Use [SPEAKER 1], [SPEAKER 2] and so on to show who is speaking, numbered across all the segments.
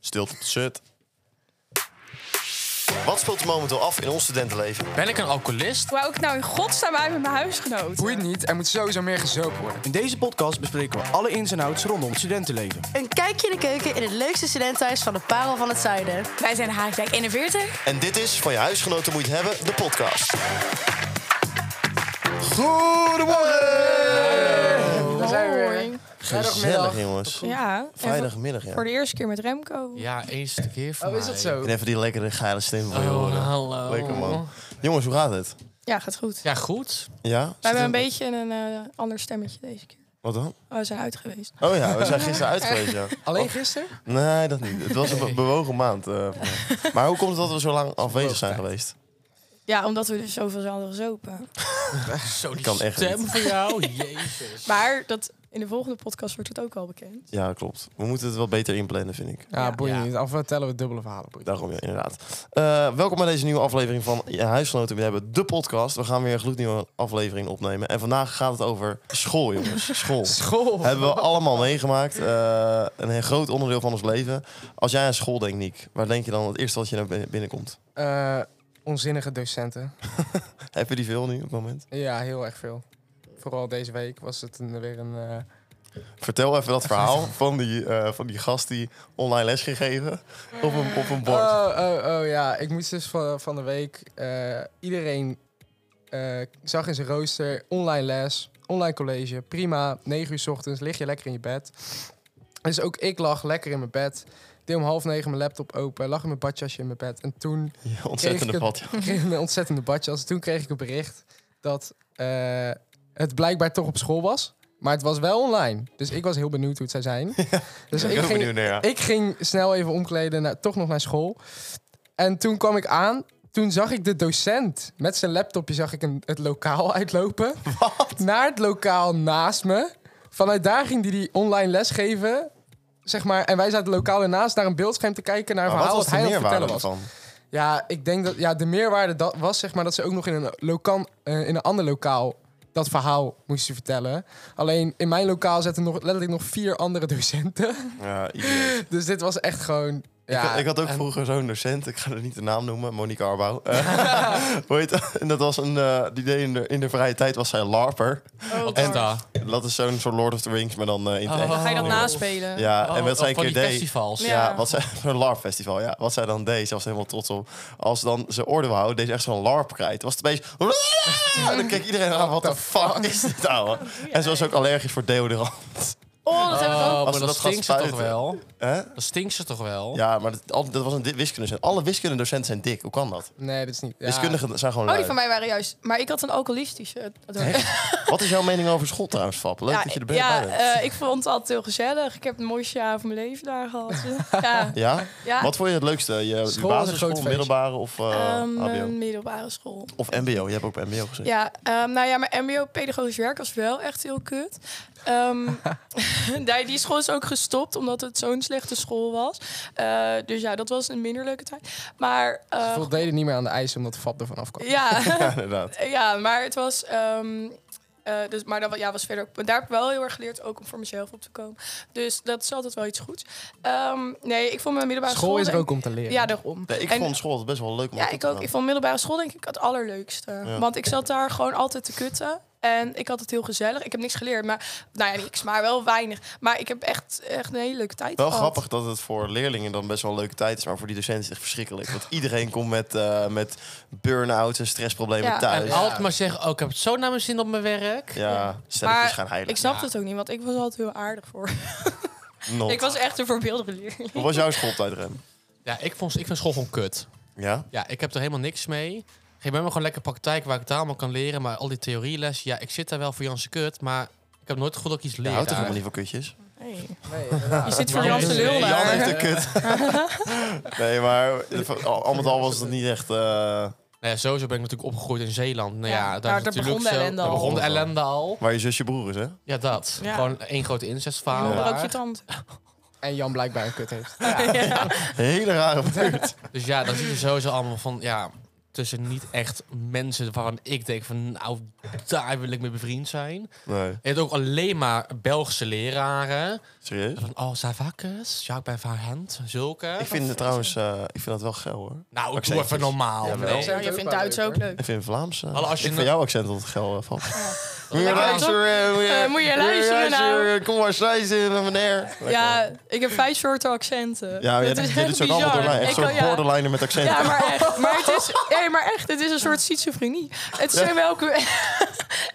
[SPEAKER 1] Stilte op de set. Wat speelt er momenteel af in ons studentenleven?
[SPEAKER 2] Ben ik een alcoholist?
[SPEAKER 3] Wou ik nou in godsnaam uit met mijn huisgenoot?
[SPEAKER 4] Boeit niet, er moet sowieso meer gezopen worden.
[SPEAKER 5] In deze podcast bespreken we alle ins en outs rondom het studentenleven.
[SPEAKER 6] Een kijkje in de keuken in het leukste studentenhuis van de Parel van het Zuiden.
[SPEAKER 3] Wij zijn Haagdijk 41.
[SPEAKER 1] En dit is Van je huisgenoten moet hebben, de podcast.
[SPEAKER 4] Daar zijn we weer.
[SPEAKER 1] Gezellig, jongens.
[SPEAKER 3] Ja. en
[SPEAKER 1] Vrijdagmiddag, ja.
[SPEAKER 3] Voor de eerste keer met Remco.
[SPEAKER 2] Ja, eens een keer voor
[SPEAKER 4] Oh, is dat
[SPEAKER 2] mij.
[SPEAKER 4] zo?
[SPEAKER 1] En even die lekkere geile stem van je
[SPEAKER 2] Oh,
[SPEAKER 1] horen.
[SPEAKER 3] nou.
[SPEAKER 2] hallo.
[SPEAKER 1] Lekker, man. Jongens, hoe gaat het?
[SPEAKER 3] Ja, gaat goed.
[SPEAKER 2] Ja, goed.
[SPEAKER 1] Ja?
[SPEAKER 3] We
[SPEAKER 1] Zit
[SPEAKER 3] hebben
[SPEAKER 1] er-
[SPEAKER 3] een beetje een eh, ander stemmetje deze keer.
[SPEAKER 1] Wat dan?
[SPEAKER 3] Oh, we zijn uit geweest.
[SPEAKER 1] Oh ja, we zijn gisteren uit geweest, ja.
[SPEAKER 4] Alleen gisteren?
[SPEAKER 1] Nee, dat niet. Het was een be- bewogen maand. eh, voor mij. maar hoe komt het dat we zo lang afwezig zijn geweest?
[SPEAKER 3] Ja, omdat we dus zoveel hadden gezopen.
[SPEAKER 2] Zo, die
[SPEAKER 1] Kan echt
[SPEAKER 2] stem
[SPEAKER 1] niet.
[SPEAKER 2] voor jou. Jezus.
[SPEAKER 3] Maar dat, in de volgende podcast wordt het ook wel bekend.
[SPEAKER 1] Ja, klopt. We moeten het wel beter inplannen, vind ik.
[SPEAKER 4] Ja, boeit
[SPEAKER 2] Ja.
[SPEAKER 4] niet. Of we tellen we dubbele verhalen. Boeit.
[SPEAKER 1] Daarom, ja, inderdaad. Eh, welkom bij deze nieuwe aflevering van Je Huisgenoten. We hebben de podcast. We gaan weer een gloednieuwe aflevering opnemen. En vandaag gaat het over school, jongens. School.
[SPEAKER 4] School.
[SPEAKER 1] Hebben we allemaal meegemaakt. Eh, een heel groot onderdeel van ons leven. Als jij aan school denkt, Niek, waar denk je dan het eerste wat je naar binnen- binnenkomt?
[SPEAKER 4] Eh, onzinnige docenten.
[SPEAKER 1] Heb je die veel nu op het moment?
[SPEAKER 4] Ja, heel erg veel. Vooral deze week was het een, weer een... eh,
[SPEAKER 1] Vertel even dat verhaal van die, eh, van die gast die online les ging geven op een, op een bord.
[SPEAKER 4] Oh, oh, oh ja, ik moest dus van, van de week. eh, iedereen eh, zag in zijn rooster online les, online college. Prima, 9 uur 's ochtends lig je lekker in je bed. Dus ook ik lag lekker in mijn bed. Deed om half negen mijn laptop open, lag in mijn badjasje in mijn bed. En toen
[SPEAKER 1] Ja, ontzettende
[SPEAKER 4] Kreeg ik
[SPEAKER 1] pad. ja.
[SPEAKER 4] kreeg ik een ontzettende badjas. Toen kreeg ik een bericht dat eh, het blijkbaar toch op school was. Maar het was wel online. Dus ik was heel benieuwd hoe het zou zijn. Dus
[SPEAKER 1] Ik ben ook benieuwd naar ja.
[SPEAKER 4] ik ging snel even omkleden, naar, toch nog naar school. En toen kwam ik aan. Toen zag ik de docent met zijn laptopje zag ik een, het lokaal uitlopen. Naar het lokaal naast me. Vanuit daar ging hij die online les geven. Zeg maar, en wij zaten lokaal ernaast naar een beeldscherm te kijken naar een
[SPEAKER 1] Maar wat
[SPEAKER 4] verhaal
[SPEAKER 1] was
[SPEAKER 4] dat
[SPEAKER 1] de
[SPEAKER 4] hij aan het
[SPEAKER 1] meerwaarde
[SPEAKER 4] vertellen was.
[SPEAKER 1] ervan?
[SPEAKER 4] Ja, ik denk dat ja, de meerwaarde dat was zeg maar dat ze ook nog in een, lokaal, eh, in een ander lokaal dat verhaal moesten vertellen. Alleen in mijn lokaal zaten nog letterlijk nog vier andere docenten.
[SPEAKER 1] Ja, idioot.
[SPEAKER 4] Dus dit was echt gewoon. Ja,
[SPEAKER 1] ik, ik had ook
[SPEAKER 4] en-
[SPEAKER 1] vroeger zo'n docent, ik ga er niet de naam noemen, Monique Arbouw. Eh, Hoe heet dat? En dat was een, eh, die deed in de, in de vrije tijd was zij larper.
[SPEAKER 2] Wat is dat?
[SPEAKER 1] Dat is zo'n soort Lord of the Rings, maar dan eh, in het echt.
[SPEAKER 3] Ga je dat
[SPEAKER 2] Oh.
[SPEAKER 3] naspelen?
[SPEAKER 1] Ja, en
[SPEAKER 2] Oh,
[SPEAKER 1] wat zij een
[SPEAKER 2] van
[SPEAKER 1] keer
[SPEAKER 2] die
[SPEAKER 1] deed...
[SPEAKER 2] festivals.
[SPEAKER 1] Ja,
[SPEAKER 3] Ja.
[SPEAKER 1] wat zij, zo'n LARP-festival, ja. Wat zij dan deed, ze was er helemaal trots op. Als ze dan ze orde wou houden, deed ze echt zo'n larp krijt. Was het opeens... En dan keek iedereen aan, wat de fuck is dit, ouwe? En ze was ook allergisch voor deodorant.
[SPEAKER 3] Oh, dat heb ik ook.
[SPEAKER 2] Oh,
[SPEAKER 1] Als
[SPEAKER 2] maar
[SPEAKER 1] ze
[SPEAKER 2] dat
[SPEAKER 1] dat gaan
[SPEAKER 2] stinkt ze toch
[SPEAKER 1] spuiten.
[SPEAKER 2] wel?
[SPEAKER 1] Hè?
[SPEAKER 2] Dat stinkt ze toch wel?
[SPEAKER 1] Ja, maar dat, al- dat was een di- wiskundedocent. Alle wiskundedocenten zijn dik, hoe kan dat?
[SPEAKER 4] Nee, dat is niet. Ja,
[SPEAKER 1] Wiskundigen zijn gewoon
[SPEAKER 3] Oh, die
[SPEAKER 1] lui.
[SPEAKER 3] van mij waren juist. Maar ik had een alcoholistische. dat hoor ik.
[SPEAKER 1] Wat is jouw mening over school trouwens, Fab? Leuk dat je er bent.
[SPEAKER 3] ja,
[SPEAKER 1] bij bent.
[SPEAKER 3] eh, ik vond het altijd heel gezellig. Ik heb het mooiste jaar van mijn leven daar gehad. ja.
[SPEAKER 1] ja?
[SPEAKER 3] ja.
[SPEAKER 1] Wat vond je het leukste? Je
[SPEAKER 4] is een groot
[SPEAKER 1] basisschool,
[SPEAKER 4] feestje.
[SPEAKER 1] middelbare of eh,
[SPEAKER 3] Ehm,
[SPEAKER 1] HBO?
[SPEAKER 3] een middelbare school.
[SPEAKER 1] Of MBO, je hebt ook bij MBO gezeten.
[SPEAKER 3] Ja, ehm, nou ja, mijn mbo-pedagogisch werk was wel echt heel kut. Ehm, daar- die school is ook gestopt omdat het zo'n slechte school was. Eh, dus ja, dat was een minder leuke tijd. Maar
[SPEAKER 4] Ze
[SPEAKER 3] eh,
[SPEAKER 4] voldeden niet meer aan de eisen omdat Fab ervan afkwam.
[SPEAKER 3] ja,
[SPEAKER 1] Ja, inderdaad.
[SPEAKER 3] ja, maar het was. ehm, eh, dus, maar dat wa- ja, was verder ook. Maar daar heb ik wel heel erg geleerd ook om voor mezelf op te komen. Dus dat is altijd wel iets goeds. Ehm, nee, ik vond mijn middelbare school.
[SPEAKER 4] School is er
[SPEAKER 3] denk-
[SPEAKER 4] ook om te leren.
[SPEAKER 3] Ja, daarom.
[SPEAKER 1] Nee, ik
[SPEAKER 3] En-
[SPEAKER 1] vond school altijd best wel leuk om
[SPEAKER 3] Ja,
[SPEAKER 1] naartoe
[SPEAKER 3] ik
[SPEAKER 1] te
[SPEAKER 3] ook.
[SPEAKER 1] gaan.
[SPEAKER 3] Ik vond middelbare school denk ik het allerleukste.
[SPEAKER 1] Ja.
[SPEAKER 3] Want ik zat daar gewoon altijd te kutten. En ik had het heel gezellig. Ik heb niks geleerd, maar nou ja, niks, maar wel weinig. Maar ik heb echt, echt een hele leuke tijd
[SPEAKER 1] Wel
[SPEAKER 3] gehad.
[SPEAKER 1] grappig dat het voor leerlingen dan best wel een leuke tijd is, maar voor die docenten is het echt verschrikkelijk. Want iedereen komt met, eh, met burn-outs en stressproblemen
[SPEAKER 3] Ja.
[SPEAKER 1] thuis.
[SPEAKER 2] En altijd maar zeggen, oh, ik heb het zo naar mijn zin op mijn werk.
[SPEAKER 1] Ja,
[SPEAKER 3] Maar
[SPEAKER 1] stelletjes gaan heilen.
[SPEAKER 3] ik snap
[SPEAKER 2] Ja.
[SPEAKER 3] het ook niet, want ik was altijd heel aardig voor.
[SPEAKER 1] Not.
[SPEAKER 3] Ik was echt een voorbeeldige leerling.
[SPEAKER 1] Hoe was jouw schooltijd, Rem?
[SPEAKER 2] Ja, ik, vond, ik vind school gewoon kut.
[SPEAKER 1] Ja?
[SPEAKER 2] Ja, ik heb er helemaal niks mee. Geef mij maar gewoon lekker praktijk waar ik het allemaal kan leren. Maar al die theorieles, ja, ik zit daar wel voor Janse kut. Maar ik heb nooit goed dat ik iets
[SPEAKER 1] Je
[SPEAKER 2] leer
[SPEAKER 1] houdt toch
[SPEAKER 2] daar.
[SPEAKER 1] helemaal niet van kutjes?
[SPEAKER 3] Nee.
[SPEAKER 4] Nee, inderdaad.
[SPEAKER 3] Je zit voor
[SPEAKER 2] maar-
[SPEAKER 3] Jan de
[SPEAKER 2] Nee,
[SPEAKER 3] lul
[SPEAKER 2] Jan
[SPEAKER 1] Jan
[SPEAKER 3] daar.
[SPEAKER 1] heeft een kut. nee, maar al, al met al was het niet echt... eh,
[SPEAKER 2] Nou ja, sowieso ben ik natuurlijk opgegroeid in Zeeland. Nou ja,
[SPEAKER 3] Ja,
[SPEAKER 2] daar,
[SPEAKER 3] daar
[SPEAKER 2] is natuurlijk
[SPEAKER 3] begon de
[SPEAKER 2] zo-
[SPEAKER 3] ellende
[SPEAKER 2] daar
[SPEAKER 3] al.
[SPEAKER 2] begon de ellende al.
[SPEAKER 1] waar je zusje broer is, hè?
[SPEAKER 2] Ja, dat.
[SPEAKER 3] Ja.
[SPEAKER 2] Gewoon één grote incestverhaal.
[SPEAKER 3] Ja, maar ook je
[SPEAKER 2] daar.
[SPEAKER 3] tand.
[SPEAKER 4] En Jan blijkbaar een kut heeft.
[SPEAKER 1] Hele rare buurt.
[SPEAKER 2] Dus ja, dan zie je sowieso allemaal van, ja... tussen niet echt mensen waarvan ik denk van... Nou, daar wil ik mee bevriend zijn.
[SPEAKER 1] Nee,
[SPEAKER 2] Je hebt ook alleen maar Belgische leraren.
[SPEAKER 1] serieus?
[SPEAKER 2] Van, oh, Savakis, Jacques bij Hand, zulke.
[SPEAKER 1] Ik vind het trouwens, eh, ik vind dat wel geil hoor.
[SPEAKER 2] nou, ik doe
[SPEAKER 1] accentjes.
[SPEAKER 2] even normaal.
[SPEAKER 1] Jawel.
[SPEAKER 2] nee.
[SPEAKER 4] Accent-
[SPEAKER 3] Ja, je vindt Duits ook leuk.
[SPEAKER 1] Ik vind Vlaams. eh,
[SPEAKER 2] Wel, als je
[SPEAKER 1] ik
[SPEAKER 2] nou-
[SPEAKER 1] vind jouw accent altijd geil eh, van. Moet
[SPEAKER 3] Lekker,
[SPEAKER 1] eh, moet eh,
[SPEAKER 3] Eh, moet je luisteren nou?
[SPEAKER 1] Kom maar sluizen, meneer. Lekker.
[SPEAKER 3] Ja, ik heb vijf soorten accenten.
[SPEAKER 1] Ja, maar jij
[SPEAKER 3] Dat
[SPEAKER 1] doet-
[SPEAKER 3] is
[SPEAKER 1] jij doet
[SPEAKER 3] echt
[SPEAKER 1] zo allemaal door
[SPEAKER 3] bizar.
[SPEAKER 1] mij. Echt
[SPEAKER 3] Ik
[SPEAKER 1] zo'n
[SPEAKER 3] kan- ja.
[SPEAKER 1] borderliner met accent.
[SPEAKER 3] Ja, maar echt. Maar het is, nee, maar echt, het is een soort schizofrenie. Het is in welke,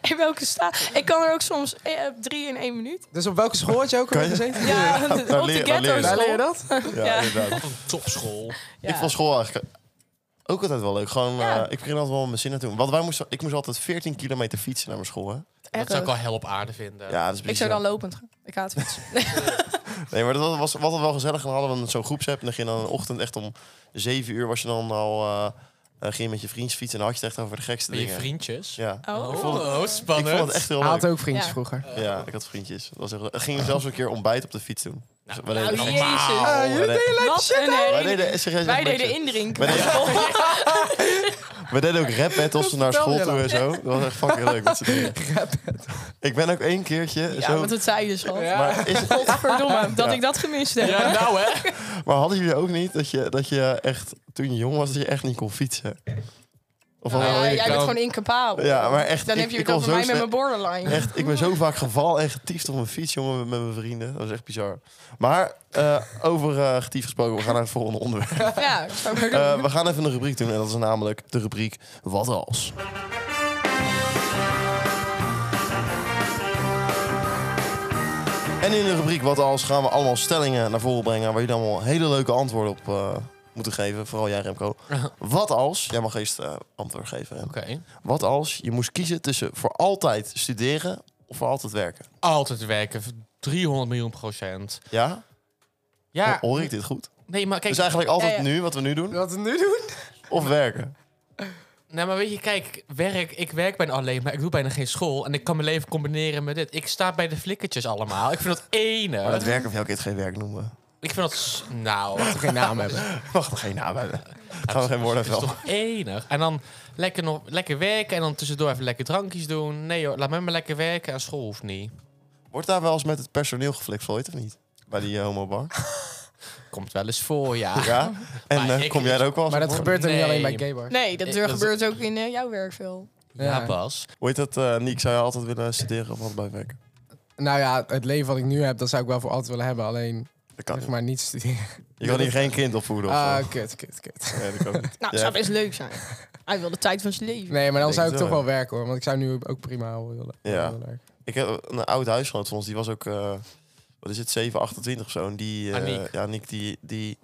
[SPEAKER 3] in welke staat. Ik kan er ook soms eh, drie in één minuut.
[SPEAKER 4] Dus op welke school had je ook
[SPEAKER 1] Kan
[SPEAKER 4] alweer
[SPEAKER 1] je-
[SPEAKER 4] gezeten?
[SPEAKER 3] Ja, op
[SPEAKER 1] leer-
[SPEAKER 3] de
[SPEAKER 1] daar leer
[SPEAKER 3] ghetto
[SPEAKER 1] je
[SPEAKER 4] Waar leer je
[SPEAKER 3] school.
[SPEAKER 4] dat?
[SPEAKER 1] Ja,
[SPEAKER 3] ja.
[SPEAKER 1] inderdaad.
[SPEAKER 2] Wat een topschool.
[SPEAKER 3] Ja.
[SPEAKER 1] Ik vond school eigenlijk ook altijd wel leuk. Gewoon,
[SPEAKER 3] Ja.
[SPEAKER 1] eh, ik begin altijd wel met mijn zin naartoe. Want wij moesten, ik moest altijd 14 kilometer fietsen naar mijn school. Hè?
[SPEAKER 3] Erg.
[SPEAKER 2] Dat zou ik al heel op aarde vinden.
[SPEAKER 1] Ja, dat is
[SPEAKER 3] Ik zou
[SPEAKER 1] bizar.
[SPEAKER 3] dan lopend gaan. Ik haat fietsen.
[SPEAKER 2] Oh,
[SPEAKER 1] Nee, maar dat was wat wel gezellig. Dan hadden we zo'n groepsapp. En dan ging je dan in de ochtend echt om 7 uur was je dan al... eh, eh, ging je met je vriends fietsen. En dan had je het echt over de gekste
[SPEAKER 2] Met je
[SPEAKER 1] dingen.
[SPEAKER 2] vriendjes.
[SPEAKER 1] Ja.
[SPEAKER 3] Oh.
[SPEAKER 2] Oh,
[SPEAKER 1] Ik
[SPEAKER 2] spannend.
[SPEAKER 1] vond het echt heel
[SPEAKER 4] Hij had
[SPEAKER 1] leuk.
[SPEAKER 4] ook vriendjes
[SPEAKER 3] Ja.
[SPEAKER 4] vroeger.
[SPEAKER 1] Ja, ik had vriendjes. Dat was echt... leuk. Gingen we zelfs een keer ontbijt op de fiets doen. Dus we
[SPEAKER 3] Nou,
[SPEAKER 1] deden-
[SPEAKER 3] jezus.
[SPEAKER 1] we deden-
[SPEAKER 3] Wat een
[SPEAKER 1] Wij
[SPEAKER 3] herinnering.
[SPEAKER 1] deden, serieus,
[SPEAKER 3] Wij
[SPEAKER 1] echt een
[SPEAKER 3] deden indrinken.
[SPEAKER 1] Wij We deden ook rap battles naar school toe en zo. Dat was echt fucking leuk met z'n drieën. Ik ben ook één keertje
[SPEAKER 3] Ja,
[SPEAKER 1] zo...
[SPEAKER 3] want dat zei je dus al.
[SPEAKER 1] Maar, is,
[SPEAKER 3] Godverdomme, dat
[SPEAKER 1] Ja.
[SPEAKER 3] ik dat gemist heb.
[SPEAKER 2] Ja, nou hè.
[SPEAKER 1] maar hadden jullie ook niet dat je, dat je echt, toen je jong was, dat je echt niet kon fietsen? Of
[SPEAKER 3] Nou
[SPEAKER 1] hadden
[SPEAKER 3] ja,
[SPEAKER 1] jullie-
[SPEAKER 3] jij bent gewoon incapabel.
[SPEAKER 1] Oh, Ja, maar echt,
[SPEAKER 3] Dan
[SPEAKER 1] ik-
[SPEAKER 3] heb je
[SPEAKER 1] ik kon
[SPEAKER 3] het over
[SPEAKER 1] zo
[SPEAKER 3] mij met
[SPEAKER 1] slecht-
[SPEAKER 3] mijn borderline.
[SPEAKER 1] Echt, ik ben zo vaak gevallen en getiefd op mijn fiets, jongen, met, met mijn vrienden. Dat was echt bizar. Maar eh, over eh getiefd gesproken, we gaan naar het volgende onderwerp.
[SPEAKER 3] Ja, ik zou maar doen.
[SPEAKER 1] Eh, we gaan even een rubriek doen en dat is namelijk de rubriek Wat als? En in de rubriek Wat als gaan we allemaal stellingen naar voren brengen waar jullie allemaal hele leuke antwoorden op eh, moeten geven. Vooral jij Remco. Wat als, jij mag eerst eh, antwoord geven. Remco.
[SPEAKER 2] Oké.
[SPEAKER 1] Wat als je moest kiezen tussen voor altijd studeren of voor altijd werken?
[SPEAKER 2] Altijd werken. 300 miljoen procent.
[SPEAKER 1] Ja?
[SPEAKER 2] Ja.
[SPEAKER 1] Ho- Hoor ik dit goed?
[SPEAKER 2] Nee, maar kijk.
[SPEAKER 1] dus eigenlijk altijd
[SPEAKER 3] ja, ja.
[SPEAKER 1] nu, wat we nu doen,
[SPEAKER 4] Wat we nu doen?
[SPEAKER 1] of werken?
[SPEAKER 2] Nou, maar weet je, kijk, werk, ik werk bijna alleen, maar ik doe bijna geen school. En ik kan mijn leven combineren met dit. Ik sta bij de flikkertjes allemaal. Ik vind dat ene.
[SPEAKER 1] Maar dat werken of jou het geen werk noemen.
[SPEAKER 2] Ik vind dat. s- Nou,
[SPEAKER 4] Moet geen naam hebben.
[SPEAKER 1] Wacht, er geen naam hebben. Gaan we geen woorden
[SPEAKER 2] dat is
[SPEAKER 1] even
[SPEAKER 2] toch enig. En dan lekker, nog, lekker werken en dan tussendoor even lekker drankjes doen. Nee joh, laat mij maar lekker werken en school hoeft niet.
[SPEAKER 1] Wordt daar wel eens met het personeel geflikt, ooit of niet? Bij die eh, homo homobar.
[SPEAKER 2] Komt wel eens voor, ja.
[SPEAKER 1] Ja. En
[SPEAKER 2] Maar
[SPEAKER 1] eh,
[SPEAKER 2] ik-
[SPEAKER 1] kom jij daar ook wel eens
[SPEAKER 4] Maar dat
[SPEAKER 1] op?
[SPEAKER 4] gebeurt er niet
[SPEAKER 2] Nee.
[SPEAKER 4] alleen bij gaybars.
[SPEAKER 3] Nee, dat
[SPEAKER 2] Ik-
[SPEAKER 3] deur
[SPEAKER 2] dat is-
[SPEAKER 3] gebeurt ook in eh, jouw werkveld.
[SPEAKER 2] Ja,
[SPEAKER 4] Ja.
[SPEAKER 2] Bas.
[SPEAKER 1] Hoe heet dat, eh Niek? Zou je altijd willen studeren of altijd blijven werken?
[SPEAKER 4] Nou ja, het leven wat ik nu heb, dat zou ik wel voor altijd willen hebben. Alleen,
[SPEAKER 1] Dat kan
[SPEAKER 4] zeg
[SPEAKER 1] niet.
[SPEAKER 4] maar, niet studeren.
[SPEAKER 1] Je kan hier geen kind opvoeden of
[SPEAKER 4] Ah,
[SPEAKER 1] zo.
[SPEAKER 4] kut, kut, kut.
[SPEAKER 1] Nee, dat kan niet.
[SPEAKER 3] Nou,
[SPEAKER 1] Ja.
[SPEAKER 3] het zou best leuk zijn. Hij wil de tijd van zijn leven.
[SPEAKER 4] Nee, maar dan
[SPEAKER 1] Ik denk
[SPEAKER 4] zou ik
[SPEAKER 1] het
[SPEAKER 4] toch
[SPEAKER 1] wel.
[SPEAKER 4] wel werken hoor. Want ik zou nu ook prima willen.
[SPEAKER 1] Ja.
[SPEAKER 4] willen werken.
[SPEAKER 1] Ik heb een oud huisgenoot van ons, die was ook, eh, wat is het, 728 of zo. En die, eh,
[SPEAKER 2] Aniek.
[SPEAKER 1] ja, Niek, die, die,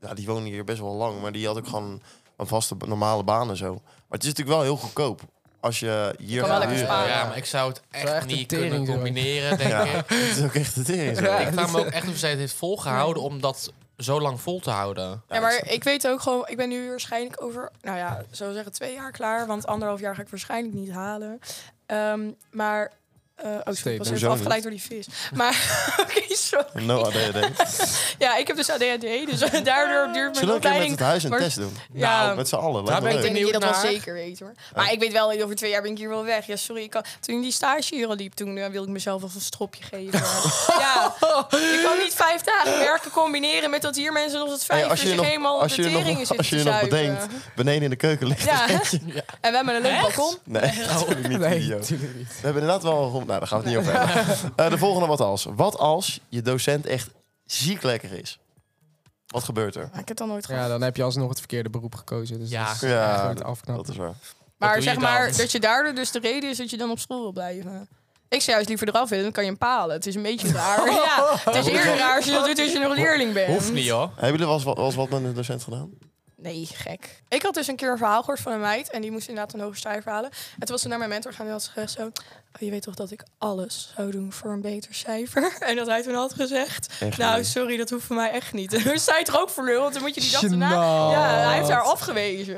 [SPEAKER 1] ja, die woonde hier best wel lang. Maar die had ook gewoon een vaste, normale baan en zo. Maar het is natuurlijk wel heel goedkoop. Als je hier
[SPEAKER 3] kan wel
[SPEAKER 1] gaat
[SPEAKER 3] lekker
[SPEAKER 1] huren.
[SPEAKER 3] sparen.
[SPEAKER 2] Ja, maar ik zou het echt,
[SPEAKER 4] Zou echt een
[SPEAKER 2] niet
[SPEAKER 4] tering
[SPEAKER 2] kunnen
[SPEAKER 4] doen.
[SPEAKER 2] combineren, denk
[SPEAKER 1] Ja.
[SPEAKER 2] ik.
[SPEAKER 1] Het is ook echt het ding. zo.
[SPEAKER 4] Ja.
[SPEAKER 2] Ik vraag me ook echt of zij het heeft volgehouden om dat zo lang vol te houden.
[SPEAKER 3] Ja, maar ik weet ook gewoon, ik ben nu waarschijnlijk over, nou ja, zo zeggen twee jaar klaar. Want anderhalf jaar ga ik waarschijnlijk niet halen. Ehm, maar, eh oh, sorry, ik was
[SPEAKER 4] Statement.
[SPEAKER 1] Hoezo
[SPEAKER 3] even afgeleid door die vis. Maar, oké, sorry.
[SPEAKER 1] No ADHD.
[SPEAKER 3] Ja, ik heb dus ADHD, dus daardoor duurt
[SPEAKER 1] Zullen we een
[SPEAKER 3] mijn
[SPEAKER 1] keer met
[SPEAKER 3] opleiding.
[SPEAKER 1] het huis een
[SPEAKER 3] maar-
[SPEAKER 1] test doen?
[SPEAKER 3] Ja.
[SPEAKER 1] Nou, met z'n allen.
[SPEAKER 2] Daar
[SPEAKER 1] Lijkt me
[SPEAKER 2] ben ik
[SPEAKER 3] Ik
[SPEAKER 1] leuk.
[SPEAKER 3] denk dat je dat wel
[SPEAKER 2] Benieuwd naar.
[SPEAKER 3] zeker weet hoor. Maar ik weet wel, over twee jaar ben ik hier wel weg. Ja, sorry. Ik kan, toen ik die stage hier al liep, toen eh, wilde ik mezelf wel een stropje geven. ja, ik kan niet vijf dagen werken combineren met dat hier mensen nog tot vijf
[SPEAKER 1] Hey,
[SPEAKER 3] uur
[SPEAKER 1] als je je
[SPEAKER 3] zich helemaal
[SPEAKER 1] nog, als je je
[SPEAKER 3] de teringen
[SPEAKER 1] nog,
[SPEAKER 3] zitten
[SPEAKER 1] als je
[SPEAKER 3] te
[SPEAKER 1] je nog
[SPEAKER 3] zuipen.
[SPEAKER 1] bedenkt, beneden in de keuken ligt
[SPEAKER 3] Ja.
[SPEAKER 1] er eentje.
[SPEAKER 3] En we hebben een leuk balkon.
[SPEAKER 1] Nee, natuurlijk niet.
[SPEAKER 4] Nee,
[SPEAKER 1] idioot.
[SPEAKER 4] natuurlijk niet.
[SPEAKER 1] We hebben inderdaad wel een rond. Nou, daar gaan we het niet over hebben. Eh, de volgende wat als. Wat als je docent echt ziek lekker is? Wat gebeurt er?
[SPEAKER 3] Ah, ik heb dat nooit gehad.
[SPEAKER 4] Ja, dan heb je alsnog het verkeerde beroep gekozen. Dus
[SPEAKER 2] Ja.
[SPEAKER 4] dat is
[SPEAKER 1] Ja,
[SPEAKER 4] echt nooit afknappen.
[SPEAKER 1] Dat is waar.
[SPEAKER 2] doe
[SPEAKER 3] maar
[SPEAKER 2] je
[SPEAKER 3] zeg
[SPEAKER 2] dan?
[SPEAKER 3] maar, dat je daardoor dus de reden is dat je dan op school wil blijven. Ik zou juist liever eraf willen, dan kan je hem palen. Het is een beetje raar. ja, het is eerder raar als je dat doet als je nog leerling bent.
[SPEAKER 2] Hoeft niet, hoor.
[SPEAKER 1] Hebben jullie wel eens, wat- wel eens wat met een docent gedaan?
[SPEAKER 3] Nee, gek. Ik had dus een keer een verhaal gehoord van een meid. En die moest inderdaad een hoge cijfer halen. En toen was ze naar mijn mentor gaan en had ze gezegd zo... Oh, je weet toch dat ik alles zou doen voor een beter cijfer? En dat hij toen had gezegd...
[SPEAKER 1] Echt
[SPEAKER 3] nou,
[SPEAKER 1] niet.
[SPEAKER 3] sorry, dat hoeft voor mij echt niet. En toen zei het er ook voor lul, want dan moet je die dag daarna...
[SPEAKER 4] Gênant.
[SPEAKER 3] Ja, hij heeft haar afgewezen.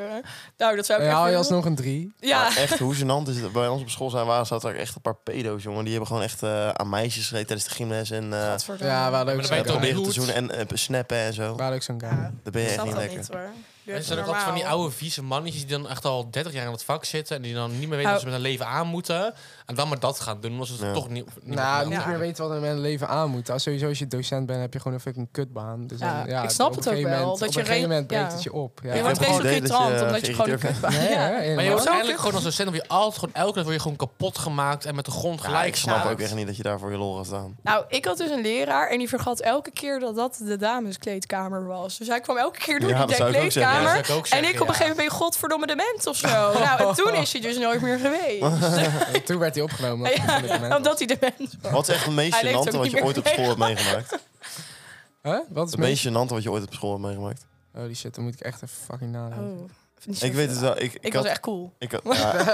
[SPEAKER 3] Nou, dat zou ik
[SPEAKER 4] Ja, haal je
[SPEAKER 3] echt voor lul-
[SPEAKER 4] alsnog een drie.
[SPEAKER 3] Ja,
[SPEAKER 1] Maar Nou, echt, hoe gênant is het? Bij ons op school zijn waren, zaten er echt een paar pedo's, jongen. Die hebben gewoon echt eh, aan meisjes gereden tijdens de gymles en eh
[SPEAKER 3] Godverdomme.
[SPEAKER 4] Ja, we hadden
[SPEAKER 2] Maar
[SPEAKER 4] ook
[SPEAKER 2] dan ben je
[SPEAKER 4] zo'n guy.
[SPEAKER 2] toch niet-
[SPEAKER 1] proberen te
[SPEAKER 2] goed?
[SPEAKER 1] zoenen en eh, snappen en zo.
[SPEAKER 4] We hadden ook zo'n guy.
[SPEAKER 1] Daar ben je
[SPEAKER 3] Ik
[SPEAKER 1] echt
[SPEAKER 3] snap
[SPEAKER 1] niet
[SPEAKER 3] dat
[SPEAKER 1] lekker.
[SPEAKER 3] niet hoor. Dus Dat
[SPEAKER 2] Er
[SPEAKER 3] is
[SPEAKER 2] zijn ook altijd van die oude vieze mannetjes die dan echt al 30 jaar in het vak zitten. En die dan niet meer weten
[SPEAKER 3] Nou.
[SPEAKER 2] wat ze met hun leven aan moeten. En dan maar dat gaan doen, omdat ze het
[SPEAKER 1] Ja.
[SPEAKER 2] toch niet... niet
[SPEAKER 4] Nou,
[SPEAKER 2] meer
[SPEAKER 4] niet
[SPEAKER 3] Ja.
[SPEAKER 4] meer weten wat er met een leven aan moet. Als sowieso als je docent bent, heb je gewoon een fucking kutbaan. Dus
[SPEAKER 3] Ja,
[SPEAKER 4] dan,
[SPEAKER 3] ik snap
[SPEAKER 4] op
[SPEAKER 3] het
[SPEAKER 4] een
[SPEAKER 3] ook
[SPEAKER 4] gegeven
[SPEAKER 3] wel,
[SPEAKER 4] moment-
[SPEAKER 3] dat
[SPEAKER 4] op
[SPEAKER 3] je
[SPEAKER 4] een gegeven
[SPEAKER 3] re-
[SPEAKER 4] moment breekt
[SPEAKER 3] ja.
[SPEAKER 4] het je op. Ja.
[SPEAKER 3] Je wordt
[SPEAKER 1] heb het
[SPEAKER 3] best
[SPEAKER 1] idee dat je
[SPEAKER 3] irritant, omdat je gewoon een
[SPEAKER 1] geïrriteerd bent.
[SPEAKER 3] kutbaan...
[SPEAKER 4] Nee,
[SPEAKER 3] Ja.
[SPEAKER 4] hè,
[SPEAKER 2] Maar je
[SPEAKER 4] helemaal.
[SPEAKER 2] wordt
[SPEAKER 3] Zo
[SPEAKER 2] eigenlijk
[SPEAKER 3] kut.
[SPEAKER 2] gewoon als docent, word je altijd gewoon elke dag word je gewoon kapot gemaakt en met de grond
[SPEAKER 1] Ja,
[SPEAKER 2] gelijk
[SPEAKER 1] ik snap
[SPEAKER 2] staat.
[SPEAKER 1] ook echt niet dat je daar voor je lol gaat staan.
[SPEAKER 3] Nou, ik had dus een leraar en die vergat elke keer dat dat de dameskleedkamer was. Dus hij kwam elke keer door
[SPEAKER 1] Ja, dat
[SPEAKER 3] die
[SPEAKER 1] zou ik ook zeggen,
[SPEAKER 2] Ja, dat
[SPEAKER 3] kleedkamer.
[SPEAKER 2] zou ik ook
[SPEAKER 3] En
[SPEAKER 2] zeggen,
[SPEAKER 3] ik op een
[SPEAKER 2] ja.
[SPEAKER 3] gegeven moment ben je godverdomme dement of zo. Nou, en toen is hij dus nooit meer geweest.
[SPEAKER 4] Toen werd hij opgenomen.
[SPEAKER 3] Ja,
[SPEAKER 4] op het moment.
[SPEAKER 3] Omdat hij dement was.
[SPEAKER 1] Wat is echt het meest
[SPEAKER 3] Hij leeft
[SPEAKER 1] gênante
[SPEAKER 3] ook
[SPEAKER 1] wat
[SPEAKER 3] niet
[SPEAKER 1] je
[SPEAKER 3] meer
[SPEAKER 1] ooit op school hebt meegemaakt?
[SPEAKER 4] Huh? Wat is
[SPEAKER 1] Het
[SPEAKER 4] het meest?
[SPEAKER 1] meest gênante wat je ooit op school hebt meegemaakt?
[SPEAKER 4] Holy shit, dan moet ik echt even fucking nadenken.
[SPEAKER 3] Oh, niet zo
[SPEAKER 1] Ik weet het
[SPEAKER 3] veel.
[SPEAKER 1] wel. Ik, ik,
[SPEAKER 3] Ik
[SPEAKER 1] had,
[SPEAKER 3] was echt cool.
[SPEAKER 1] ik had- ja. ja,